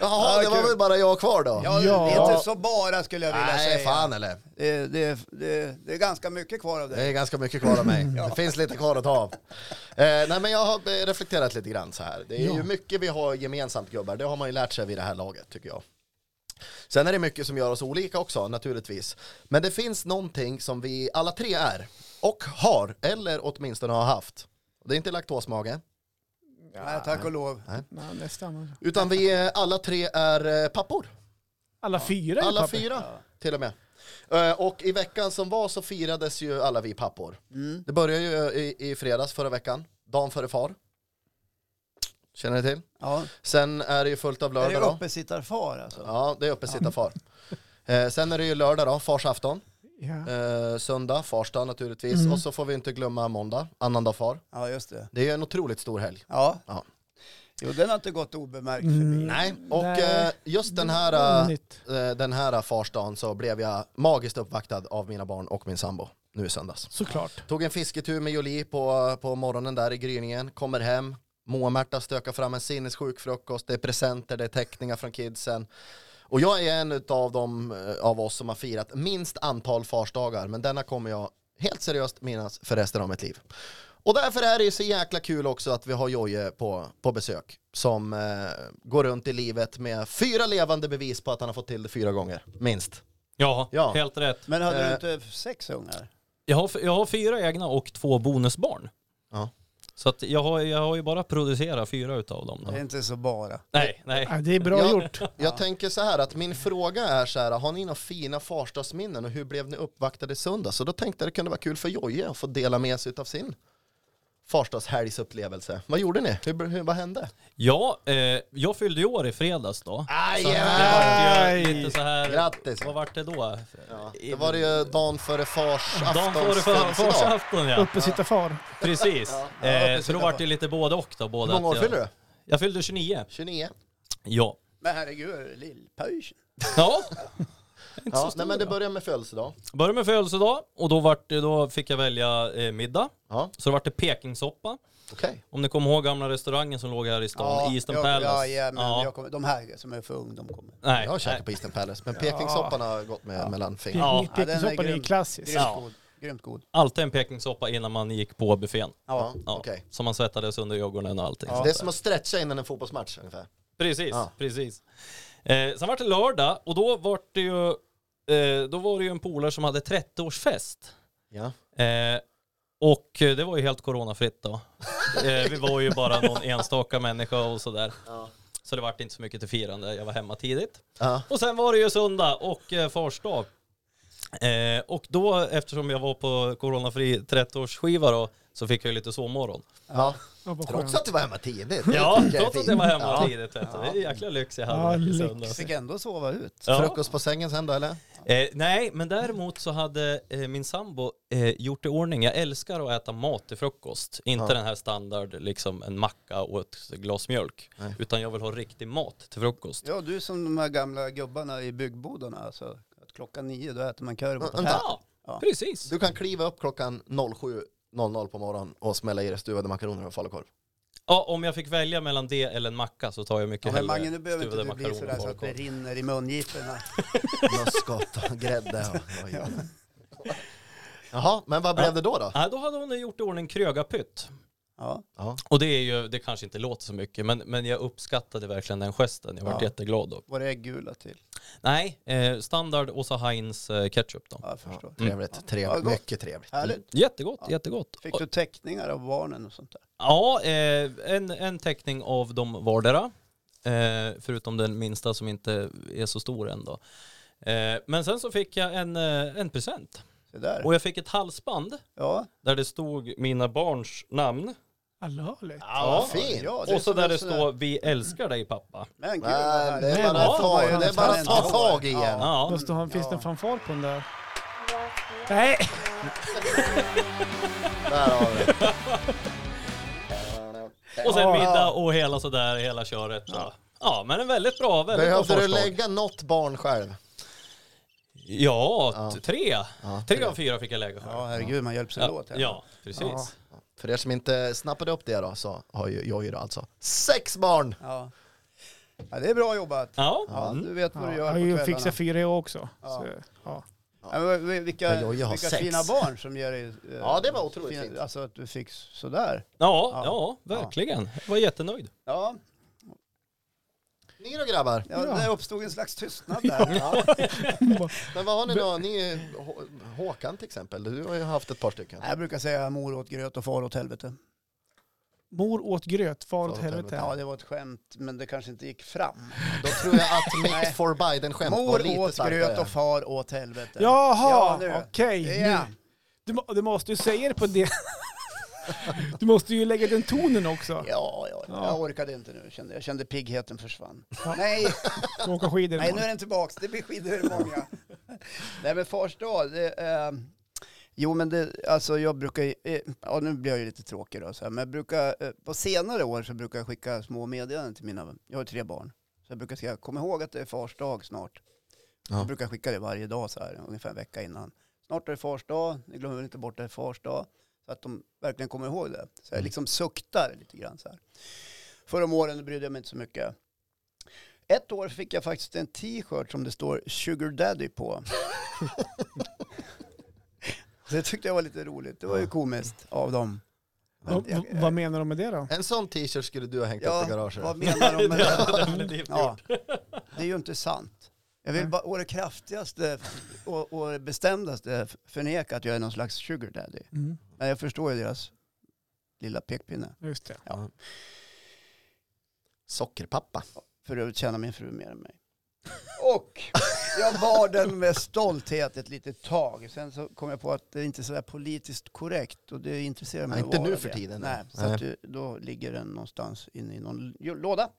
S3: Jaha,
S2: Ja,
S3: det var
S2: kul.
S3: väl bara jag kvar då?
S2: ja,
S1: Ja.
S2: Det är inte så bara skulle jag vilja
S3: Nej,
S2: säga.
S3: fan eller?
S2: Det, det, det, det är ganska mycket kvar av
S3: Det
S2: det.
S3: är ganska mycket kvar av mig. Det finns lite kvar att ta av. Eh, nej, men jag har eh, reflekterat lite grann så här. Det är ju mycket vi har gemensamt gubbar. Det har man ju lärt sig vid det här laget tycker jag. Sen är det mycket som gör oss olika också naturligtvis. Men det finns någonting som vi alla tre är och har, eller åtminstone har haft. Det är inte laktosmage,
S2: Nej, tack och lov.
S1: Ja, nästan.
S3: utan vi eh, alla tre är eh, pappor.
S1: Alla fyra är
S3: Alla
S1: papper.
S3: fyra till och med. Eh, Och i veckan som var så firades ju alla vi pappor.
S2: Mm.
S3: Det började ju eh, i, i fredags förra veckan, dagen före far. Känner ni till?
S2: Ja.
S3: Sen är det ju fullt av
S2: Är det
S3: lördag då.
S2: uppesittarfar alltså?
S3: Ja, det är uppe sitta far. Eh, Sen är det ju lördag då, farsafton.
S1: Ja.
S3: Eh, Söndag, farsdag naturligtvis. Och så får vi inte glömma måndag, annandag far.
S2: Ja, just det.
S3: Det är ju en otroligt stor helg.
S2: Ja. Mm,
S3: Ja.
S2: Jo, den har inte gått obemärkt förbi.
S3: Nej, och
S1: Nej.
S3: eh, just den
S1: var
S3: här,
S1: nytt.
S3: eh, den här farsdagen så blev jag magiskt uppvaktad av mina barn och min sambo nu i söndags.
S1: Såklart.
S3: Tog en fisketur med Jolie på, på morgonen där i gryningen, kommer hem, Moa-Märta stökar fram en sinnessjuk frukost, det är presenter, det är teckningar från kidsen. Och jag är en av de eh, av oss som har firat minst antal farsdagar, men denna kommer jag helt seriöst minnas för resten av mitt liv. Och därför är det ju så jäkla kul också att vi har Jojje på, på besök, som eh, går runt i livet med fyra levande bevis på att han har fått till det fyra gånger, minst.
S4: Ja,
S3: Ja.
S4: helt rätt.
S2: Men hade
S3: Eh.
S2: du inte sex ungar?
S4: Jag har, jag har fyra egna och två bonusbarn.
S3: Ja.
S4: Så att jag, har, jag har ju bara producerat fyra utav dem. Då.
S2: Det är inte så bara.
S4: Nej, nej.
S1: Ja, det är bra
S3: Ja.
S1: gjort.
S3: Jag tänker så här att min fråga är så här, har ni några fina farsdagsminnen och hur blev ni uppvaktade i söndags? Så då tänkte jag det kunde vara kul för Jojje att få dela med sig av sin farsdagshelgsupplevelse. Vad gjorde ni? Hur, hur, vad hände?
S4: Ja, eh, jag fyllde ju år i fredags då.
S3: Aj,
S4: Så att det vart ju lite så här,
S3: Grattis!
S4: Vad vart det då?
S3: Det var det ju dagen före fars
S4: Dagen före för-
S3: födelsedag.
S4: farsafton ja,
S1: Uppe sitta far.
S4: precis. eh, så då vart det lite både och då. Både
S3: Hur många år
S4: att jag-
S3: fyller du?
S4: Jag fyllde 29.
S3: 29?
S4: Ja.
S2: Men herregud, är det lillpöjsen?
S4: Ja,
S3: Ja, nej men det börjar med födelsedag.
S4: började med födelsedag och då, vart, det- då fick jag välja eh, middag.
S3: Ja,
S4: Så då vart det pekingsoppa.
S3: okej.
S4: Om ni kommer ihåg gamla restaurangen som låg här i stan, Eastern
S2: jag,
S4: Palace.
S2: ja, ja, men
S4: Ja.
S2: Jag kommer, de här som är för ung, de kommer.
S4: Nej,
S3: Jag har
S4: nej.
S3: käkat på Eastern Palace, men Pekingsoppan har gått med mellan fingrarna.
S4: Ja.
S1: Ja, Pekingssoppan är ju
S2: grym.
S1: klassisk.
S2: Grymt
S4: Ja.
S2: god. Grymt god.
S4: Alltid en pekingsoppa innan man gick på buffén.
S3: Ja,
S4: Ja.
S3: okej.
S4: Som man svettades under ögonen och allting.
S3: Det är som att stretcha innan en fotbollsmatch ungefär.
S4: Precis,
S3: Ja.
S4: precis. Eh, sen var det lördag och då var det ju, eh, då var det ju en polare som hade 30-årsfest.
S3: Ja.
S4: Eh, Och eh, det var ju helt coronafritt då. Eh, Vi var ju bara någon enstaka människa och sådär. Så det vart inte så mycket till firande, jag var hemma tidigt.
S3: Ja.
S4: Och sen var det ju söndag och eh, fars dag. Eh, och då, eftersom jag var på coronafri 30-årsskiva då, så fick jag ju lite sovmorgon.
S3: Ja.
S1: Ja, vad
S3: Trots
S1: skönt.
S3: att du var hemma tidigt.
S4: Ja,
S3: Det tycker jag är
S4: trots att jag var
S3: fint.
S4: hemma
S3: Ja.
S4: tidigt. Vet du. Det är jäkla lyx jag
S1: Ja,
S4: hade i
S1: lyx.
S4: söndags.
S2: Fick ändå sova ut.
S4: Ja.
S3: Frukost på sängen sen då eller?
S4: Eh, nej, men däremot så hade eh, min sambo eh, gjort i ordning. Jag älskar att äta mat till frukost. Inte den här standard, liksom en macka och ett glas mjölk. Utan jag vill ha riktig mat till frukost.
S2: Ja, du är som de här gamla gubbarna i byggbodarna. Alltså, att klockan nio, då äter man korv och
S3: Vänta.
S2: potatis.
S4: Ja,
S2: Ja.
S4: precis.
S3: Du kan kliva upp klockan 07.00 på morgonen och smälla i dig stuvade makaroner och falukorv.
S4: Ja, om jag fick välja mellan det eller en macka så tar jag mycket
S2: Ja, men Mange, nu
S4: hellre
S2: behöver inte
S4: stuvade
S2: du bli
S4: makaroner
S2: sådär så
S4: och
S2: att det
S4: falukorv.
S2: rinner i mungiporna.
S3: Muskot och grädde och, och Jaha, men vad blev det då då?
S4: Nej, då hade hon gjort i ordning krögapytt.
S2: Ja.
S3: Ja.
S4: Och det är ju, det kanske inte låter så mycket, men, men jag uppskattade verkligen den gesten. Jag var
S2: Ja.
S4: jätteglad då.
S2: Var det äggula till?
S4: Nej, eh, standard Åsa Heinz eh, ketchup då.
S2: Ja, jag förstår.
S3: Trevligt,
S2: Ja,
S3: trevligt,
S2: gott.
S3: mycket trevligt. Mm.
S2: Härligt.
S4: Jättegott, jättegott.
S2: Fick du teckningar av barnen och sånt där?
S4: Ja, eh, en, en teckning av de vardera. Eh, förutom den minsta som inte är så stor än då. Eh, men sen så fick jag en, eh, en present.
S2: Se där.
S4: Och jag fick ett halsband
S2: Ja.
S4: där det stod mina barns namn.
S1: Allvarligt.
S3: Ja, fint.
S2: ja
S4: Och så
S2: som
S4: där
S2: en
S4: det
S2: sån här-
S4: står vi älskar dig pappa.
S2: Men gud, vad
S3: Men det
S2: härligt.
S3: är bara
S4: Ja,
S3: att ta,
S1: fan,
S3: det är bara att ta
S2: fan.
S3: tag i en.
S4: Ja.
S1: Måste ha, finns det en fanfar på den där? Nej!
S3: Där har vi det.
S4: Och sen middag och hela sådär, hela köret. Ja. ja, men en väldigt bra, väldigt bra
S3: Behövde du
S4: förslag.
S3: lägga något barn själv?
S4: Ja, t- tre. tre. av fyra fick jag lägga själv.
S2: Ja, herregud, man hjälps
S4: Ja,
S2: åt. här.
S4: ja, precis.
S3: För er som inte snappade upp det då så har ju jag ju då alltså sex barn.
S2: Ja. ja, det är bra jobbat.
S4: Ja. Mm.
S2: Ja, du vet vad
S1: Ja,
S2: du
S1: jag
S2: gör
S1: har
S2: på
S1: ju
S2: kvällarna.
S1: fixat fyra jag också. Så, ja.
S2: Ja, men vi- vilka
S3: Ja, jag- jag har
S2: vilka
S3: sex.
S2: fina barn som ger dig... eh,
S3: Ja, det var otroligt
S2: fin-
S3: fint.
S2: Alltså att du fick sådär.
S4: Ja, ja, verkligen. Jag var jättenöjd.
S2: Ja,
S3: Ni då grabbar?
S2: ja, det uppstod en slags tystnad där. Ja.
S3: Men vad har ni då? Ni, är- H- Håkan till exempel, du har ju haft ett par stycken.
S2: Jag brukar säga mor åt gröt och far åt helvete.
S1: Mor åt gröt, far åt
S3: åt
S1: helvete.
S2: Ja, det var ett skämt, men det kanske inte gick fram.
S3: Då tror jag att Mitt for Biden-skämt var
S2: Mor
S3: lite
S2: åt gröt
S3: starkare.
S2: och far åt helvete.
S1: Jaha,
S2: Ja, nu.
S1: okej.
S2: Ja.
S1: nu. Du, må- du måste ju säga det på det. Du måste ju lägga den tonen också.
S2: Ja, ja, ja, jag orkade inte nu. Kände, jag kände piggheten försvann. Nej,
S1: Ska åka skidor
S2: nej, nu
S1: imorgon.
S2: är den tillbaks. Det blir skidor Nej, men fars dag. Det, eh, jo, men det, alltså jag brukar, ju- eh, ja nu blir jag ju lite tråkig då, så här, men jag brukar, eh, på senare år så brukar jag skicka små meddelanden till mina, jag har tre barn. Så jag brukar säga, kom ihåg att det är fars dag snart. Jag brukar skicka det varje dag så här, ungefär en vecka innan. Snart är det fars dag, ni glömmer inte bort att det är fars dag. Så att de verkligen kommer ihåg det. Så jag
S1: Mm.
S2: liksom suktar lite grann så här. Förra om åren brydde jag mig inte så mycket. Ett år fick jag faktiskt en t-shirt som det står Sugar Daddy på. det tyckte jag var lite roligt. Det var ju komiskt av dem.
S1: Vad- vad- Vad menar de med det då?
S3: En sån t-shirt skulle du ha hängt upp i
S2: Ja,
S3: garaget.
S2: vad menar de med det?
S4: Definitivt.
S2: Ja, det är ju inte sant. Jag vill bara å det kraftigaste och, och bestämdaste förneka att jag är någon slags sugar daddy.
S1: Mm,
S2: Men jag förstår ju deras lilla pekpinne.
S1: just det.
S3: Sockerpappa.
S2: För övrigt tjänar min fru mer än mig. Och jag bar den med stolthet ett litet tag. Sen så kom jag på att det inte är sådär politiskt korrekt och det intresserar mig
S3: Nej,
S2: att
S3: inte
S2: vara
S3: nu för
S2: det.
S3: tiden.
S2: Nej, så att du, då ligger den någonstans inne i någon l- låda.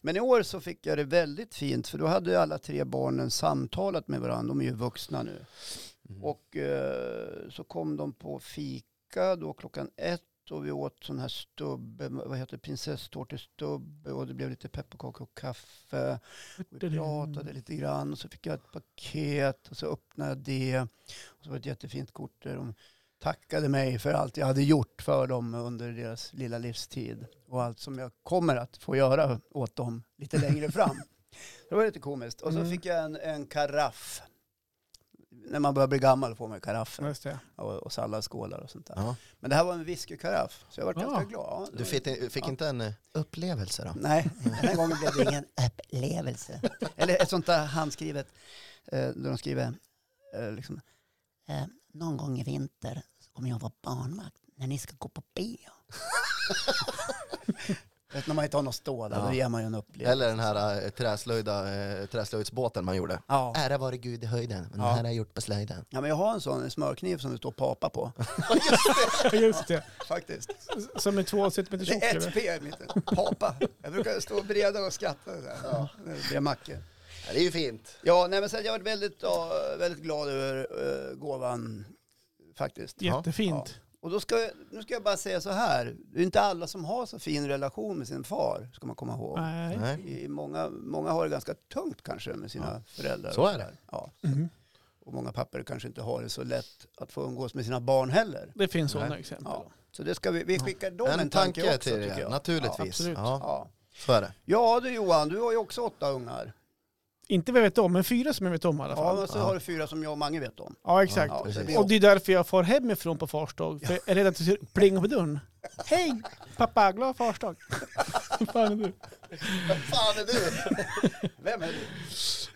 S2: Men i år så fick jag det väldigt fint för då hade ju alla tre barnen samtalat med varandra. De är ju vuxna nu.
S3: Mm.
S2: Och eh, så kom de på fika då klockan ett och vi åt sån här stubbe, vad heter det, prinsesstårtestubbe och det blev lite pepparkakor och kaffe. Och vi pratade lite grann och så fick jag ett paket och så öppnade jag det. Och så var det ett jättefint kort där de tackade mig för allt jag hade gjort för dem under deras lilla livstid och allt som jag kommer att få göra åt dem lite längre fram. Det var lite komiskt. Och så
S1: Mm.
S2: fick jag en, en karaff. När man börjar bli gammal får man ju karaffer
S1: Just det.
S2: och, och salladsskålar och sånt där.
S3: Ja.
S2: Men det här var en whiskykaraff, så jag var
S1: Ja.
S2: ganska glad. Ja, det
S3: Du
S2: var-
S3: fick, fick inte en eh, upplevelse då?
S2: Nej, den här gången blev det ingen upplevelse. Eller ett sånt där handskrivet, eh, där de skriver eh, liksom, eh, någon gång i vinter så kommer jag vara barnvakt när ni ska gå på bio. Vet, när man inte har något stå där, då ger man ju en upplevelse.
S3: Eller den här eh, träslöjda, eh, träslöjdsbåten man gjorde.
S2: Ja.
S3: Ära vare Gud i höjden, men den här har jag gjort på slöjden.
S2: ja, men jag har en sån en smörkniv som det står papa på,
S1: Just det.
S2: faktiskt.
S1: Som är två centimeter tjock.
S2: Det är ett
S1: eller?
S2: P, lite. papa. Jag brukar stå breda och skratta. Så här. Ja, det blir macke.
S3: Ja, det är ju fint.
S2: Ja, nej, men sen, jag var väldigt, ja, väldigt glad över eh, gåvan, faktiskt.
S1: Jättefint.
S2: Och då ska jag, nu ska jag bara säga så här. Det är inte alla som har så fin relation med sin far, ska man komma ihåg.
S1: Nej.
S3: Nej.
S2: I, många, många har det ganska tungt kanske med sina föräldrar.
S3: Så
S2: och
S3: är
S2: sådär.
S3: det.
S2: Ja. Och många pappor kanske inte har det så lätt att få umgås med sina barn heller.
S1: Det finns sådana exempel.
S2: Ja. Så det ska vi, vi skickar dem
S3: En, tanke,
S2: också,
S3: till
S2: tycker
S3: er,
S2: jag.
S3: naturligtvis.
S1: absolut.
S3: Ja,
S2: Ja.
S3: så är det.
S2: ja, du Johan, du har ju också åtta ungar.
S1: Inte vad jag vet om, men fyra som jag vet om i alla
S2: Ja,
S1: fall.
S2: men så har du fyra som jag och Mange vet om.
S1: Ja, exakt.
S2: Ja,
S3: precis.
S2: det-
S1: och det är därför jag far hemifrån på fars dag. För jag är rädd att det plingar på dörren. Hej pappa, glad fars dag. Fan är du?
S3: fan är du?
S2: Vem är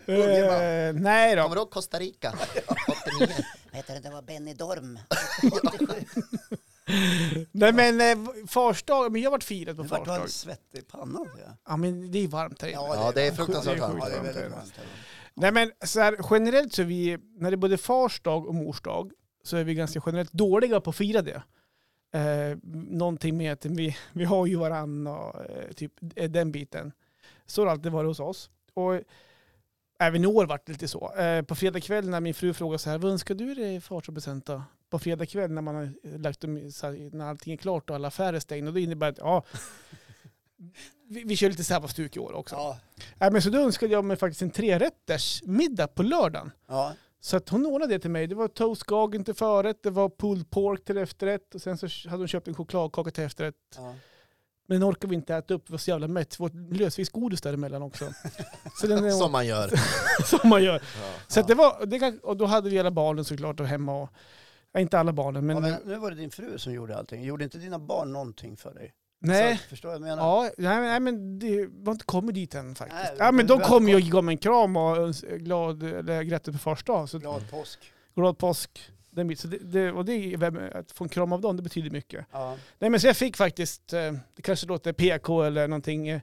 S2: du? Unge, va?
S1: Eh, nej då.
S3: Kommer du ihåg Costa Rica?
S8: Vet du, det var Benny Dorm.
S1: Nej men eh, fars dag, men jag har varit firad på
S2: Du vart
S1: fars
S2: du
S1: dag.
S2: alldeles svettig i pannan. ser jag.
S1: Ja men det är varmt här inne.
S3: Ja, det är fruktansvärt
S1: Det är sjukt.
S3: varmt.
S2: Ja, det är väldigt
S1: varmt.
S2: varmt. här.
S1: Nej men så här, generellt så är vi, när det är både fars dag och mors dag, så är vi ganska generellt dåliga på att fira det. Eh, någonting med att vi, vi har ju varann och eh, typ eh, den biten. Så har det alltid varit hos oss. Och även i år vart det lite så. Eh, på fredag kväll när min fru frågar så här, vad önskar du dig i farsdagspresent då?" På fredag kväll när man har eh, lagt dem, i- så här, när allting är klart och alla affärer är stängda, och det innebär att ja, vi, vi kör lite säpastuk i år också.
S2: Ja,
S1: Nej, men så då önskade jag mig faktiskt en trerätters middag på lördagen.
S2: ja.
S1: Så att hon ordnade det till mig. Det var toast gagen till förrätt, det var pulled pork till efterrätt och sen så hade hon köpt en chokladkaka till efterrätt.
S2: ja.
S1: Men den orkade vi inte äta upp, vi var så jävla mätt. Vårt lösviktsgodis däremellan också. Så den är
S3: Som
S1: som,
S3: man gör.
S1: man gör. Så att det var, det, kan- och då hade vi alla barnen såklart och hemma och, ja, inte alla barnen men,
S2: Ja, men nu var det din fru som gjorde allting. Gjorde inte dina barn någonting för dig?
S1: nej.
S2: Så, förstår vad jag menar?
S1: Ja, nej, men- nej men det var inte kommit dit än faktiskt.
S2: Nej,
S1: ja men
S2: du-
S1: de
S2: du-
S1: kom ju och gav mig en kram och öns- glad, eller grattis på första dag. Så
S2: Glad påsk.
S1: glad påsk. Den bit. Så det, det, och det, är vem- att få en kram av dem, det betyder mycket.
S2: Ja.
S1: Nej men så jag fick faktiskt, eh, det kanske låter PK eller någonting, eh,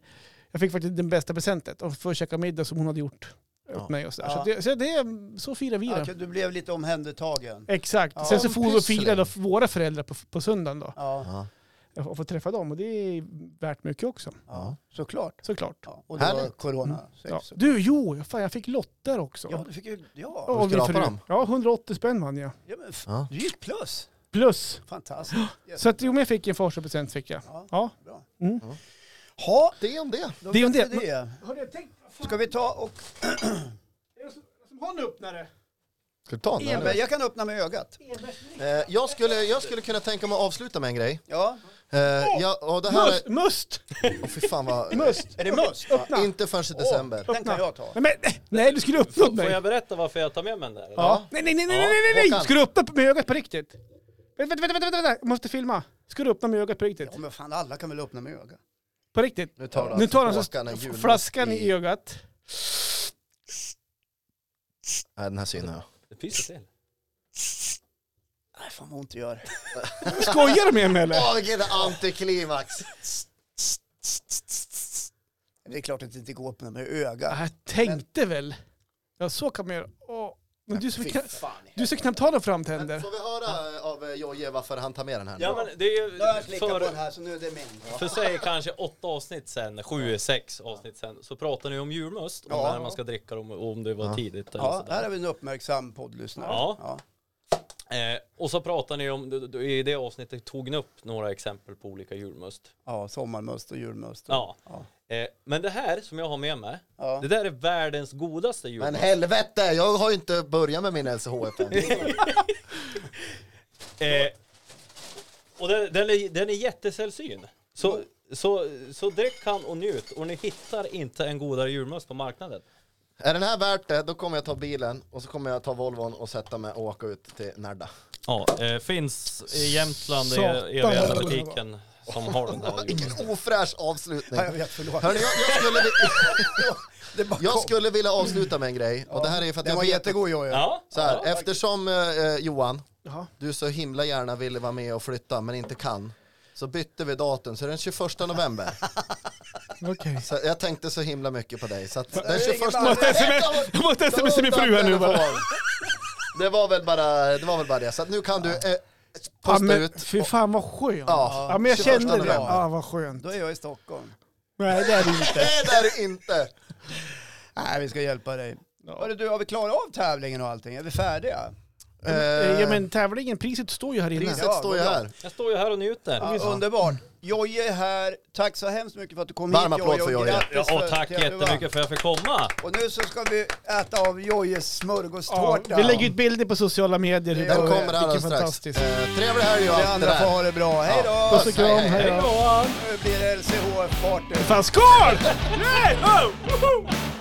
S1: jag fick faktiskt den bästa presentet och få käka middag som hon hade gjort åt mig och sådär. Så,
S2: Ja.
S1: det, så, det, så firar vi
S2: Ja,
S1: det.
S2: okej, du blev lite omhändertagen.
S1: Exakt.
S2: Ja,
S1: Sen så
S3: en
S1: får vi och
S3: pyssling.
S1: firade våra föräldrar på, på söndagen då
S2: Ja,
S3: Ja.
S1: och få träffa dem och det är värt mycket också
S2: ja. såklart.
S1: såklart.
S2: Ja. Och det var
S3: Härligt.
S2: corona.
S1: Ja.
S2: Så-
S1: Du, jo, fan, jag fick lotter också.
S2: ja, du fick ju...
S1: Och
S2: Ja.
S3: Vad
S1: min
S3: skrapar
S1: fru.
S3: de?
S1: Ja, 180 spänn vann jag.
S2: ja men f-
S3: Ja.
S2: du gick plus.
S1: Plus.
S2: Fantastiskt.
S1: Så att, jo, men jag fick en farsdagspresent fick jag.
S2: Ja.
S1: Ja.
S2: Bra.
S1: Mm.
S2: Ha,
S3: Det om det.
S2: då
S1: Det är om
S2: vet
S1: det.
S2: vi det.
S1: Hörde jag tänkt,
S2: Ska vi ta och...
S1: som har en öppnare?
S3: Ska du ta den?
S2: Ja,
S3: eller?
S2: men Jag kan öppna med ögat.
S3: Eh, Jag skulle, jag skulle kunna tänka mig att avsluta med en grej.
S2: Ja.
S3: Eh, Jag, och det här
S1: Must!
S3: är...
S1: Must!
S3: Åh, fy fan vad...
S1: Must!
S2: Är det must?
S3: Inte förrän i december.
S2: Den kan jag ta.
S1: Nej, men, nej, nej, du skulle öppna upp
S4: Får
S1: mig.
S4: jag berätta varför jag tar med mig den där?
S1: Ja. Nej, nej, nej, nej, nej, nej, nej.
S3: Håkan.
S1: Ska du öppna upp med ögat på riktigt? Vänta, vänta, vänta, vänta, vänta. jag måste filma. Ska du öppna med ögat på riktigt?
S2: Ja, men fan, alla kan väl öppna med ögat?
S1: På riktigt?
S3: Nu tar du
S1: Nu
S3: alltså
S1: tar han så
S3: Håkan en julmust
S1: flaskan i
S3: i-
S1: ögat.
S3: Nej, den här synen jag.
S4: Det finns det till.
S2: Nej, fan vad ont det gör.
S1: Skojar du med mig eller?
S3: Åh, vilket antiklimax!
S2: Det är klart att det inte går att öppna med ögat.
S1: Ah, Jag tänkte väl. Ja, så kan man göra. Åh. Men du som,
S2: Fy
S1: kan,
S2: fan.
S1: du som knappt har några framtänder.
S3: Får vi höra av eh, Jojje varför han tar med den här? nu?
S4: Ja men det är ju
S2: Nu har jag klickat på den
S4: för,
S2: här så nu är det min. Ja.
S4: för sig kanske åtta avsnitt sen, sju, sex avsnitt sen, så pratar ni om julmust, om
S2: Ja.
S4: när man ska dricka dem och om det var tidigt eller
S2: Ja,
S4: sådär.
S2: här har vi en uppmärksam poddlyssnare.
S4: Ja.
S2: Ja.
S4: Eh, och så pratar ni om, d- d- i det avsnittet tog ni upp några exempel på olika julmust.
S2: ja, sommarmust och julmust.
S4: Ja.
S2: Ja.
S4: Eh, men det här som jag har med mig,
S2: Ja.
S4: det där är världens godaste julmust.
S3: Men helvete, jag har ju inte börjat med min LCHF än.
S4: Eh, och den, den, är, den är jättesällsyn. Så, så, så drick han och njut och ni hittar inte en godare julmust på marknaden.
S3: Är den här värt det, då kommer jag ta bilen och så kommer jag ta Volvon och sätta mig och åka ut till Närda.
S4: Ja, eh, finns i Jämtland i
S1: Satan,
S4: eviga
S1: vad det
S4: butiken. som har den här jorden.
S3: Vilken Mm. ofräsch avslutning.
S2: Ja, jag vet, förlåt.
S3: Hörni, jag, jag, skulle, vi-
S2: Det bara
S3: jag
S2: kom.
S3: skulle vilja avsluta med en grej. Och det här är ju för att
S2: Den
S3: jag
S2: var
S3: vet-
S2: jättegod Jojje.
S4: Ja,
S3: Så här, eftersom eh, eh, Johan,
S1: Jaha.
S3: du så himla gärna ville vara med och flytta men inte kan. Så bytte vi datum, så det är den 21 november.
S1: Okej.
S3: Så jag tänkte så himla mycket på dig. Så att den
S2: ringer
S3: 21
S2: bara.
S1: Jag måste sms jag måste smsa min fru här nu bara.
S3: Det var väl bara det. Var väl bara det. Så att nu kan du eh,
S1: Ja,
S3: posta
S1: men,
S3: ut.
S1: fy fan vad skönt.
S3: Ja.
S1: Ja, men jag
S3: 21
S1: kände det.
S3: november.
S1: Ja, vad skönt.
S2: Då är jag i Stockholm.
S1: Nej, det är det inte.
S3: Nej, det är det inte.
S2: Nej, vi ska hjälpa dig. Hörru, du, har vi klarat av tävlingen och allting? Är vi färdiga?
S3: Eh,
S1: Ja, men tävlingen, priset står ju här inne.
S3: Priset
S2: Ja,
S3: står ju
S2: vad bra.
S3: här.
S4: jag står ju här och
S2: Ja,
S4: njuter.
S2: underbart. Jojje är här. Tack så hemskt mycket för att du kom
S3: Varm
S2: hit
S3: applåd för
S2: och
S3: Jojje.
S4: Ja,
S2: grattis
S4: och
S2: för
S4: tack
S2: att du vann.
S4: jättemycket för att jag fick komma.
S2: Och nu så ska vi äta av Jojjes
S1: Ja,
S2: smörgåstårta.
S1: vi lägger ut bilder på sociala medier.
S2: Den
S3: Den
S1: Vilken
S3: kommer alldeles strax.
S1: fantastisk.
S3: Eh, trevlig helg och
S2: Vi
S3: allt det
S2: andra får
S3: där.
S2: ha det bra. Hej då!
S3: Ja.
S1: Puss och kram, hej då.
S2: Nu blir det LCHF-party.
S1: Fan, skål! Nej, oh, woho!